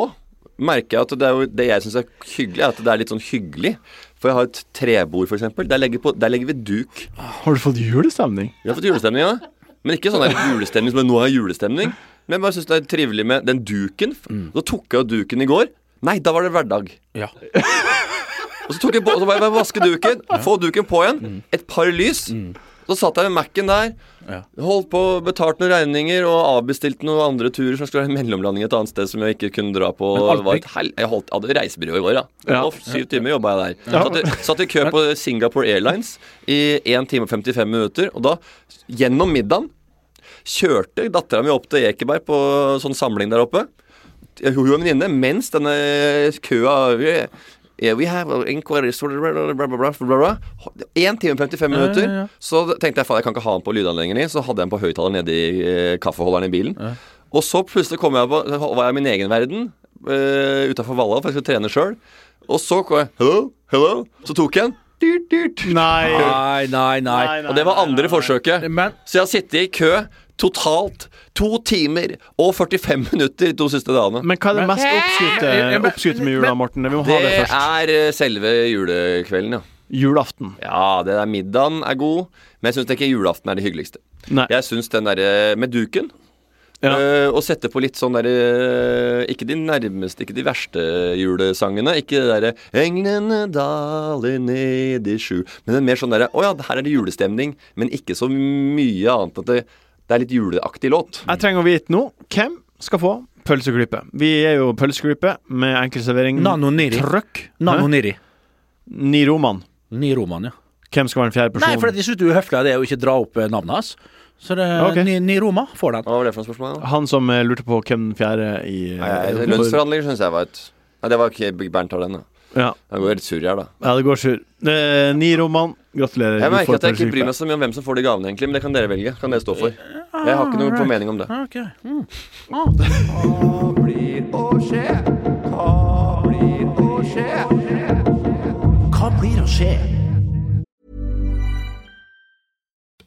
Speaker 3: merker jeg at det, er jo, det jeg syns er hyggelig, er at det er litt sånn hyggelig. For jeg har et trebord, f.eks. Der, legger på- der legger vi duk.
Speaker 4: Har du fått julestemning?
Speaker 3: Vi har fått julestemning, ja. Men ikke sånn der julestemning som er nå er julestemning. Men jeg bare syns det er trivelig med den duken. Så tok jeg av duken i går. Nei, da var det hverdag.
Speaker 5: Ja.
Speaker 3: Og så tok jeg på, så var jeg bare vaske duken, få duken på igjen. Et par lys. Så satt jeg ved Mac-en der, holdt på, betalte noen regninger og avbestilte noen andre turer som skulle være en mellomlanding et annet sted som jeg ikke kunne dra på.
Speaker 5: alt
Speaker 3: Det var
Speaker 5: fikk-
Speaker 3: et hel... Jeg holdt, hadde reisebyrå i går, ja.
Speaker 4: Ja.
Speaker 3: Og syv timer jobba jeg der. Satt, i- satt i kø på Singapore Airlines i 1 time og 55 minutter, og da, gjennom middagen, kjørte dattera mi opp til Ekeberg på sånn samling der oppe. Hun og en venninne, mens denne køa Yeah, we have inquiries bla, bla, bla, bla, bla, bla, bla. 1 time og 55 minutter. Så tenkte jeg faen, jeg kan ikke ha den på lydanleggeren i, så hadde jeg den på høyttaler nede i eh, kaffeholderen i bilen. Og så plutselig kom jeg på, var jeg i min egen verden uh, utafor Valhall, for jeg skulle trene sjøl. Og så kom jeg Hello, hello. Så tok jeg den. Dyrt, dyrt.
Speaker 4: Nei.
Speaker 5: Nei, nei, nei.
Speaker 3: Og det var andre forsøket.
Speaker 5: Men
Speaker 3: Så jeg har sittet i kø totalt to timer og 45 minutter de to siste dagene.
Speaker 4: Men hva er det mest oppskrytte,
Speaker 5: Men-
Speaker 4: oppskrytte med jula, Morten? Vi må ha
Speaker 3: det
Speaker 4: det først.
Speaker 3: er eh, selve julekvelden, ja.
Speaker 4: Julaften.
Speaker 3: Ja, det der middagen er god, men jeg syns ikke julaften er det hyggeligste.
Speaker 4: Nei.
Speaker 3: Jeg syns den derre med duken
Speaker 4: Ja.
Speaker 3: eh, og sette på litt sånn derre Ikke de nærmeste, ikke de verste julesangene. Ikke det derre 'Englene daler ned i sju'. Men en mer sånn derre 'Å ja, her er det julestemning', men ikke så mye annet at det, det er litt juleaktig låt.
Speaker 4: Jeg trenger å vite nå hvem skal få pølseklype. Vi er jo pølseklype med enkel servering.
Speaker 5: Nano Niri.
Speaker 4: Trøkk.
Speaker 5: Nano
Speaker 4: Hæ?
Speaker 5: Niri.
Speaker 4: Niroman.
Speaker 5: Niroman, ja.
Speaker 4: Hvem skal være den fjerde
Speaker 5: Nei,
Speaker 4: personen?
Speaker 5: for jeg syns du er uhøflig av det å ikke dra opp eh, navnet hans. Så det,
Speaker 4: Ok.
Speaker 5: Ni- Niroma får den.
Speaker 3: Hva var det for noe spørsmål? da?
Speaker 4: Han som eh, lurte på hvem den fjerde i eh,
Speaker 3: Nei, Lønnsforhandlinger syns jeg var et Nei, det var ikke Bernt har den, da.
Speaker 4: Ja,
Speaker 3: Jeg går helt sur her, da.
Speaker 4: ja det går sur. Eh, Niroman, gratulerer.
Speaker 3: Jeg
Speaker 4: du
Speaker 3: merker
Speaker 4: får
Speaker 3: at jeg ikke
Speaker 5: Eh,
Speaker 4: pølseklype.
Speaker 3: bryr meg så mye om hvem som får de gavene, egentlig, men det kan dere velge. Kan dere stå for. Jeg har ikke noen
Speaker 5: Alright.
Speaker 3: formening om det.
Speaker 5: Ok. Mm. Hva blir å skje? Hva blir å skje? Hva blir å skje?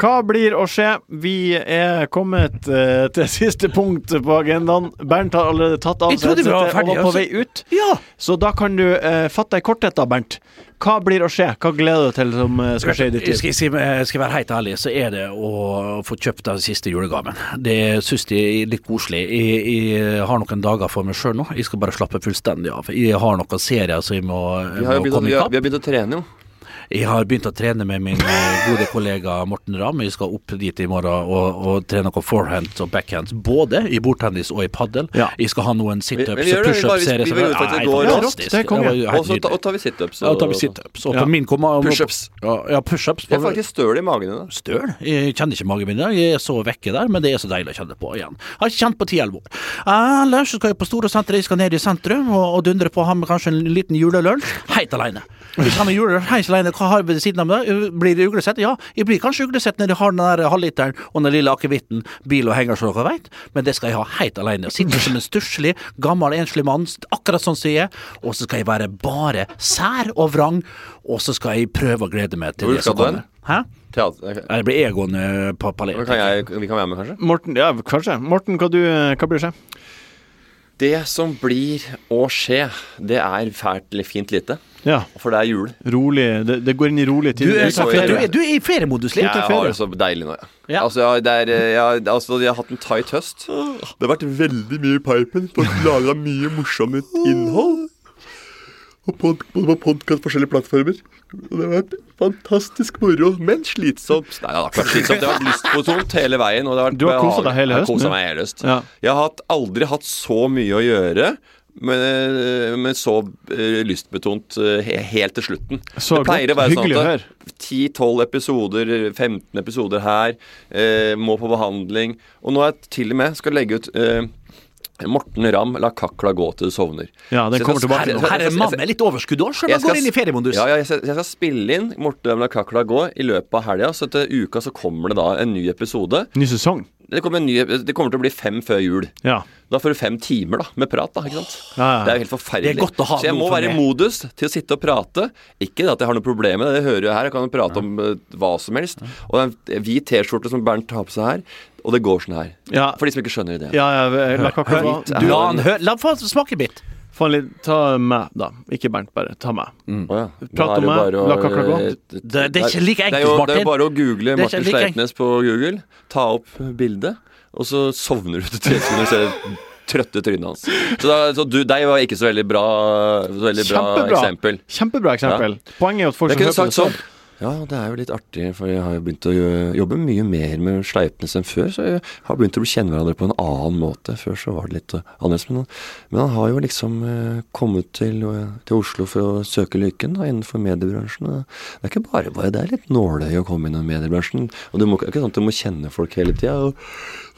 Speaker 4: Hva blir å skje? Vi er kommet eh, til siste punkt på agendaen. Bernt har allerede tatt av
Speaker 5: Jeg trodde vi var
Speaker 4: headsetet og
Speaker 5: ferdige,
Speaker 4: var på vei
Speaker 5: altså.
Speaker 4: ut.
Speaker 5: Ja!
Speaker 4: Så da kan du eh, fatte deg i korthet, da, Bernt. Hva blir å skje? Hva gleder du deg til som eh, skal skje i ditt
Speaker 5: Skal
Speaker 4: liv?
Speaker 5: jeg si, eh, skal jeg være helt ærlig, så er det å få kjøpt den siste julegaven. Det syns jeg er litt koselig. Jeg, jeg har noen dager for meg sjøl nå. Jeg skal bare slappe fullstendig av. Jeg har noen serier som jeg må,
Speaker 3: Vi har, jo
Speaker 5: må
Speaker 3: begynt, å-
Speaker 5: komme
Speaker 3: vi,
Speaker 5: i
Speaker 3: har,
Speaker 5: kapp.
Speaker 3: vi har begynt å trene, jo.
Speaker 5: Jeg har begynt å trene med min eh, gode kollega Morten Ramm. Vi skal opp dit i morgen og, og trene noen forehands og backhands, både i bordtennis og i padel.
Speaker 4: Ja.
Speaker 5: Jeg skal ha noen
Speaker 3: Vi-
Speaker 5: situps
Speaker 3: vi
Speaker 5: og
Speaker 3: gjør det, vi bare-
Speaker 5: pushup-serier.
Speaker 3: vi- vi gjorde faktisk i går.
Speaker 4: Det er konge.
Speaker 3: Og så ta- og tar vi situps.
Speaker 5: Ja, da tar vi
Speaker 3: og-
Speaker 5: situps. Og
Speaker 4: Ja.
Speaker 5: på min komma-
Speaker 3: Pushups.
Speaker 5: Ja, ja, pushups.
Speaker 3: Jeg er faktisk støl i magen i dag.
Speaker 5: støl. Jeg kjenner ikke magen min i dag. Jeg er så vekke der, men det er så deilig å kjenne på igjen. Jeg har ikke kjent på ti-elleve år. Ellers så skal jeg på store senteret, jeg skal ned i sentrum og, og dundre på og ha med kanskje en liten julelunsj. Helt alene. Hvis han er julelunsj helt alene, hva har vi ved siden av meg? Blir det uglesett? Ja, jeg blir kanskje uglesett når jeg har den der halvliteren og den lille akevitten, bil og henger, som dere veit, men det skal jeg ha helt alene. Sitte som en stusslig, gammel, enslig mann, akkurat sånn som jeg er, og så skal jeg være bare sær og vrang, og så skal jeg prøve å glede meg til
Speaker 3: Hvor
Speaker 5: det
Speaker 3: skal
Speaker 5: som
Speaker 3: du hen?
Speaker 5: kommer. Hæ?
Speaker 3: Teater.
Speaker 5: Nei, Det blir Egon eh, på
Speaker 3: Men
Speaker 5: palet.
Speaker 3: Kan jeg, vi kan være med, kanskje?
Speaker 4: Morten, ja, kanskje. Morten, hva, du, eh, hva blir å skje?
Speaker 3: Det som blir å skje, det er fælt eller fint lite.
Speaker 4: Ja,
Speaker 3: For det er jul.
Speaker 4: rolig. Det, det går inn i rolig
Speaker 5: Du
Speaker 4: tid.
Speaker 5: er,
Speaker 3: så-
Speaker 5: du,
Speaker 3: ferie.
Speaker 5: er, du er i feriemodus, Liv.
Speaker 3: Jeg har det så altså, deilig nå, ja.
Speaker 5: Ja.
Speaker 3: Altså, jeg, det er, eh, jeg, altså, jeg har hatt en tight høst. Det har vært veldig mye i pipen. Folk laga mye morsomt innhold. Og pod, på podkast forskjellige plattformer. Og det har vært fantastisk moro, men slitsomt. Nei, det har ikke vært slitsomt. Det har vært lystbetont hele veien. Og det har vært
Speaker 4: Du har koset deg
Speaker 3: behagelig.
Speaker 4: hele
Speaker 3: Jeg har
Speaker 4: høsten,
Speaker 3: koset
Speaker 4: du.
Speaker 3: meg hele høst.
Speaker 4: Ja.
Speaker 3: Jeg har hatt, aldri hatt så mye å gjøre. Men, eh, men så eh, lystbetont eh, he- helt til slutten.
Speaker 4: Så
Speaker 3: det pleier
Speaker 4: godt.
Speaker 3: å være sånn
Speaker 4: Hyggelig å
Speaker 3: at
Speaker 4: høre.
Speaker 3: 10-12 episoder, 15 episoder her, eh, må på behandling. Og nå er jeg til og med skal legge ut eh, Morten Ramm, la kakla gå til du sovner.
Speaker 4: Ja, den
Speaker 3: Så jeg
Speaker 4: kommer
Speaker 3: skal-
Speaker 4: tilbake
Speaker 5: Her,
Speaker 4: nå.
Speaker 5: her er mannen med litt overskudd òg, selv om
Speaker 3: Jeg
Speaker 5: han går
Speaker 3: skal-
Speaker 5: inn i feriemodus.
Speaker 3: Ja, ja, jeg, skal, jeg skal spille inn Morten Ramm, la kakla gå i løpet av helga. Så etter uka så kommer det da en ny episode.
Speaker 4: Ny sesong.
Speaker 3: Det kommer, en ny, det kommer til å bli fem før jul.
Speaker 4: Ja.
Speaker 3: Da får du fem timer da, med prat, da. ikke sant?
Speaker 4: Ja, ja.
Speaker 3: Det er jo helt forferdelig.
Speaker 5: Det er godt å ha
Speaker 3: så jeg
Speaker 5: noe
Speaker 3: må
Speaker 5: for
Speaker 3: være i
Speaker 5: det.
Speaker 3: modus til å sitte og prate. Ikke at jeg har noe problem med det, det hører jeg her. Jeg kan jo prate om eh, hva som helst. Og det er en hvit T-skjorte som Bernt har på seg her, og det går sånn her.
Speaker 4: Ja.
Speaker 3: For de som ikke skjønner ideen.
Speaker 4: Ja, ja, la kakla gå.
Speaker 5: Du, la han hø La han smake en bit.
Speaker 4: Faen, litt, ta meg, da. Ikke Bernt, bare. Ta meg.
Speaker 3: Å ja.
Speaker 4: Prat
Speaker 3: Da er
Speaker 4: om
Speaker 3: det
Speaker 4: meg,
Speaker 3: bare å-
Speaker 4: la kakla gå.
Speaker 3: Det,
Speaker 5: Mm. Det- det er ikke like
Speaker 3: det
Speaker 5: enkelt,
Speaker 3: er jo, Det er
Speaker 5: Martin.
Speaker 3: jo bare å google
Speaker 5: er ikke
Speaker 3: Martin
Speaker 5: like enkelt.
Speaker 3: Sleipnes på Google, ta opp bildet, og så sovner du til tre sekunder og ser trøtte trynet hans. Så, da, så du, deg var ikke så veldig bra, så veldig bra
Speaker 4: Kjempebra.
Speaker 3: eksempel.
Speaker 4: Kjempebra eksempel. Poenget er jo at folk som
Speaker 3: Jeg kunne
Speaker 4: hører på
Speaker 3: sagt
Speaker 4: det selv-
Speaker 3: sånn Ja, det er jo litt artig, for jeg har jo begynt å gjø- jobbe mye mer med Sleipnes enn før, så jeg har begynt å kjenne hverandre på en annen måte. Før så var det litt eh, annerledes, men han, men han har jo liksom eh, kommet til, eh, til Oslo for å søke lykken da, innenfor mediebransjen. og Det er ikke bare bare, det er litt nåløy å komme inn i mediebransjen. Og du må, ikke sant, du må kjenne folk hele tida.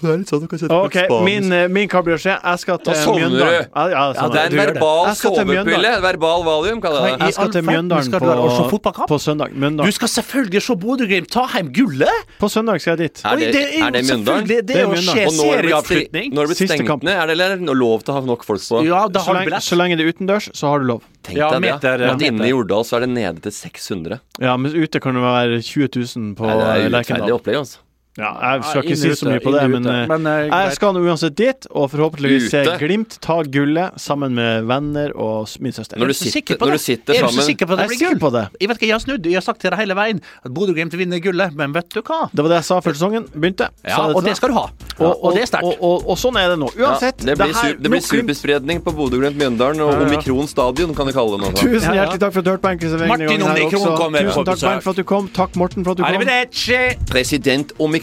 Speaker 3: Det er litt sånn at du kan sette
Speaker 4: Ok, min, eh, min hva blir å skje? Jeg skal til
Speaker 3: Da sovner du.
Speaker 4: Mjøndalen. Ja, ja,
Speaker 5: Ja,
Speaker 4: sånn
Speaker 3: Det
Speaker 4: er
Speaker 3: er
Speaker 4: det.
Speaker 3: en
Speaker 5: gjør det.
Speaker 3: verbal
Speaker 4: Jeg skal til Mjøndalen.
Speaker 3: sovepille. Verbal valium, kaller jeg det.
Speaker 4: Jeg skal til
Speaker 5: I all verden,
Speaker 4: Mjøndalen
Speaker 5: skal du være også
Speaker 4: på,
Speaker 5: fotballkamp?
Speaker 4: på søndag.
Speaker 5: Du
Speaker 4: Mjøndalen.
Speaker 5: skal selvfølgelig se Bodø-Glimt ta hjem gullet!
Speaker 4: På søndag skal jeg dit.
Speaker 3: Er det,
Speaker 5: Oi, jo
Speaker 3: er det Mjøndalen?
Speaker 5: selvfølgelig- Det
Speaker 4: Det
Speaker 5: er
Speaker 4: er
Speaker 5: jo
Speaker 4: Mjøndalen.
Speaker 5: skje
Speaker 3: Og nå er det blitt stri-
Speaker 5: serieavslutning.
Speaker 3: nå er det blitt
Speaker 4: Siste
Speaker 3: stengt
Speaker 4: kamp.
Speaker 3: ned. Er det eller, er det lov til å ha nok folk så
Speaker 5: Ja, da
Speaker 4: Så
Speaker 5: har du
Speaker 4: lenge,
Speaker 5: billett.
Speaker 4: så lenge det er utendørs, så har du lov.
Speaker 3: Tenk
Speaker 5: Ja,
Speaker 3: deg det.
Speaker 5: meter,
Speaker 3: At
Speaker 5: meter.
Speaker 3: inne i Jordal så er det nede til 600.
Speaker 4: Ja, men ute kan det være 20 000 på eh,
Speaker 3: Nei, det er urettferdig
Speaker 4: Lerkendal.
Speaker 3: opplegg, altså.
Speaker 4: Ja, jeg skal
Speaker 5: Ja,
Speaker 4: ikke
Speaker 5: inn
Speaker 4: si
Speaker 5: ute,
Speaker 4: så mye på det,
Speaker 5: inn
Speaker 4: men,
Speaker 5: ute.
Speaker 4: eh,
Speaker 5: Men, eh, greit.
Speaker 4: jeg skal nå uansett dit, og forhåpentligvis se
Speaker 5: Ute?
Speaker 4: Glimt ta gullet sammen med venner og s- min søster.
Speaker 5: Er du så sikker på det? Er du så sikker på
Speaker 4: Jeg er
Speaker 5: at det blir
Speaker 4: sikker
Speaker 5: gull?
Speaker 4: på det.
Speaker 5: Jeg vet ikke, jeg har snudd. Jeg har sagt til deg hele veien at Bodø-Glimt vinner gullet, men vet du hva?
Speaker 4: Det var det jeg sa før sesongen begynte.
Speaker 5: Ja,
Speaker 4: Sa
Speaker 5: og
Speaker 4: til
Speaker 5: det
Speaker 4: deg.
Speaker 5: skal du ha.
Speaker 4: Og,
Speaker 5: Og det er sterkt.
Speaker 4: Og, og, og sånn er det nå. Uansett.
Speaker 3: ja, det blir,
Speaker 4: her-
Speaker 3: su- det blir
Speaker 4: nå Glimt-
Speaker 3: superspredning på Bodø-Glimt Mjøndalen og
Speaker 4: Ja, ja.
Speaker 3: Omikron stadion, kan de kalle det nå. så.
Speaker 4: Tusen hjertelig takk for at du hørte på Enkeltservering.
Speaker 3: Martin
Speaker 4: denne gangen her
Speaker 3: Omikron
Speaker 4: også.
Speaker 3: kommer på
Speaker 4: Tusen takk,
Speaker 3: besøk.
Speaker 4: Bernt, for at du kom. Takk, Morten, for at du kom.
Speaker 3: President Omikron.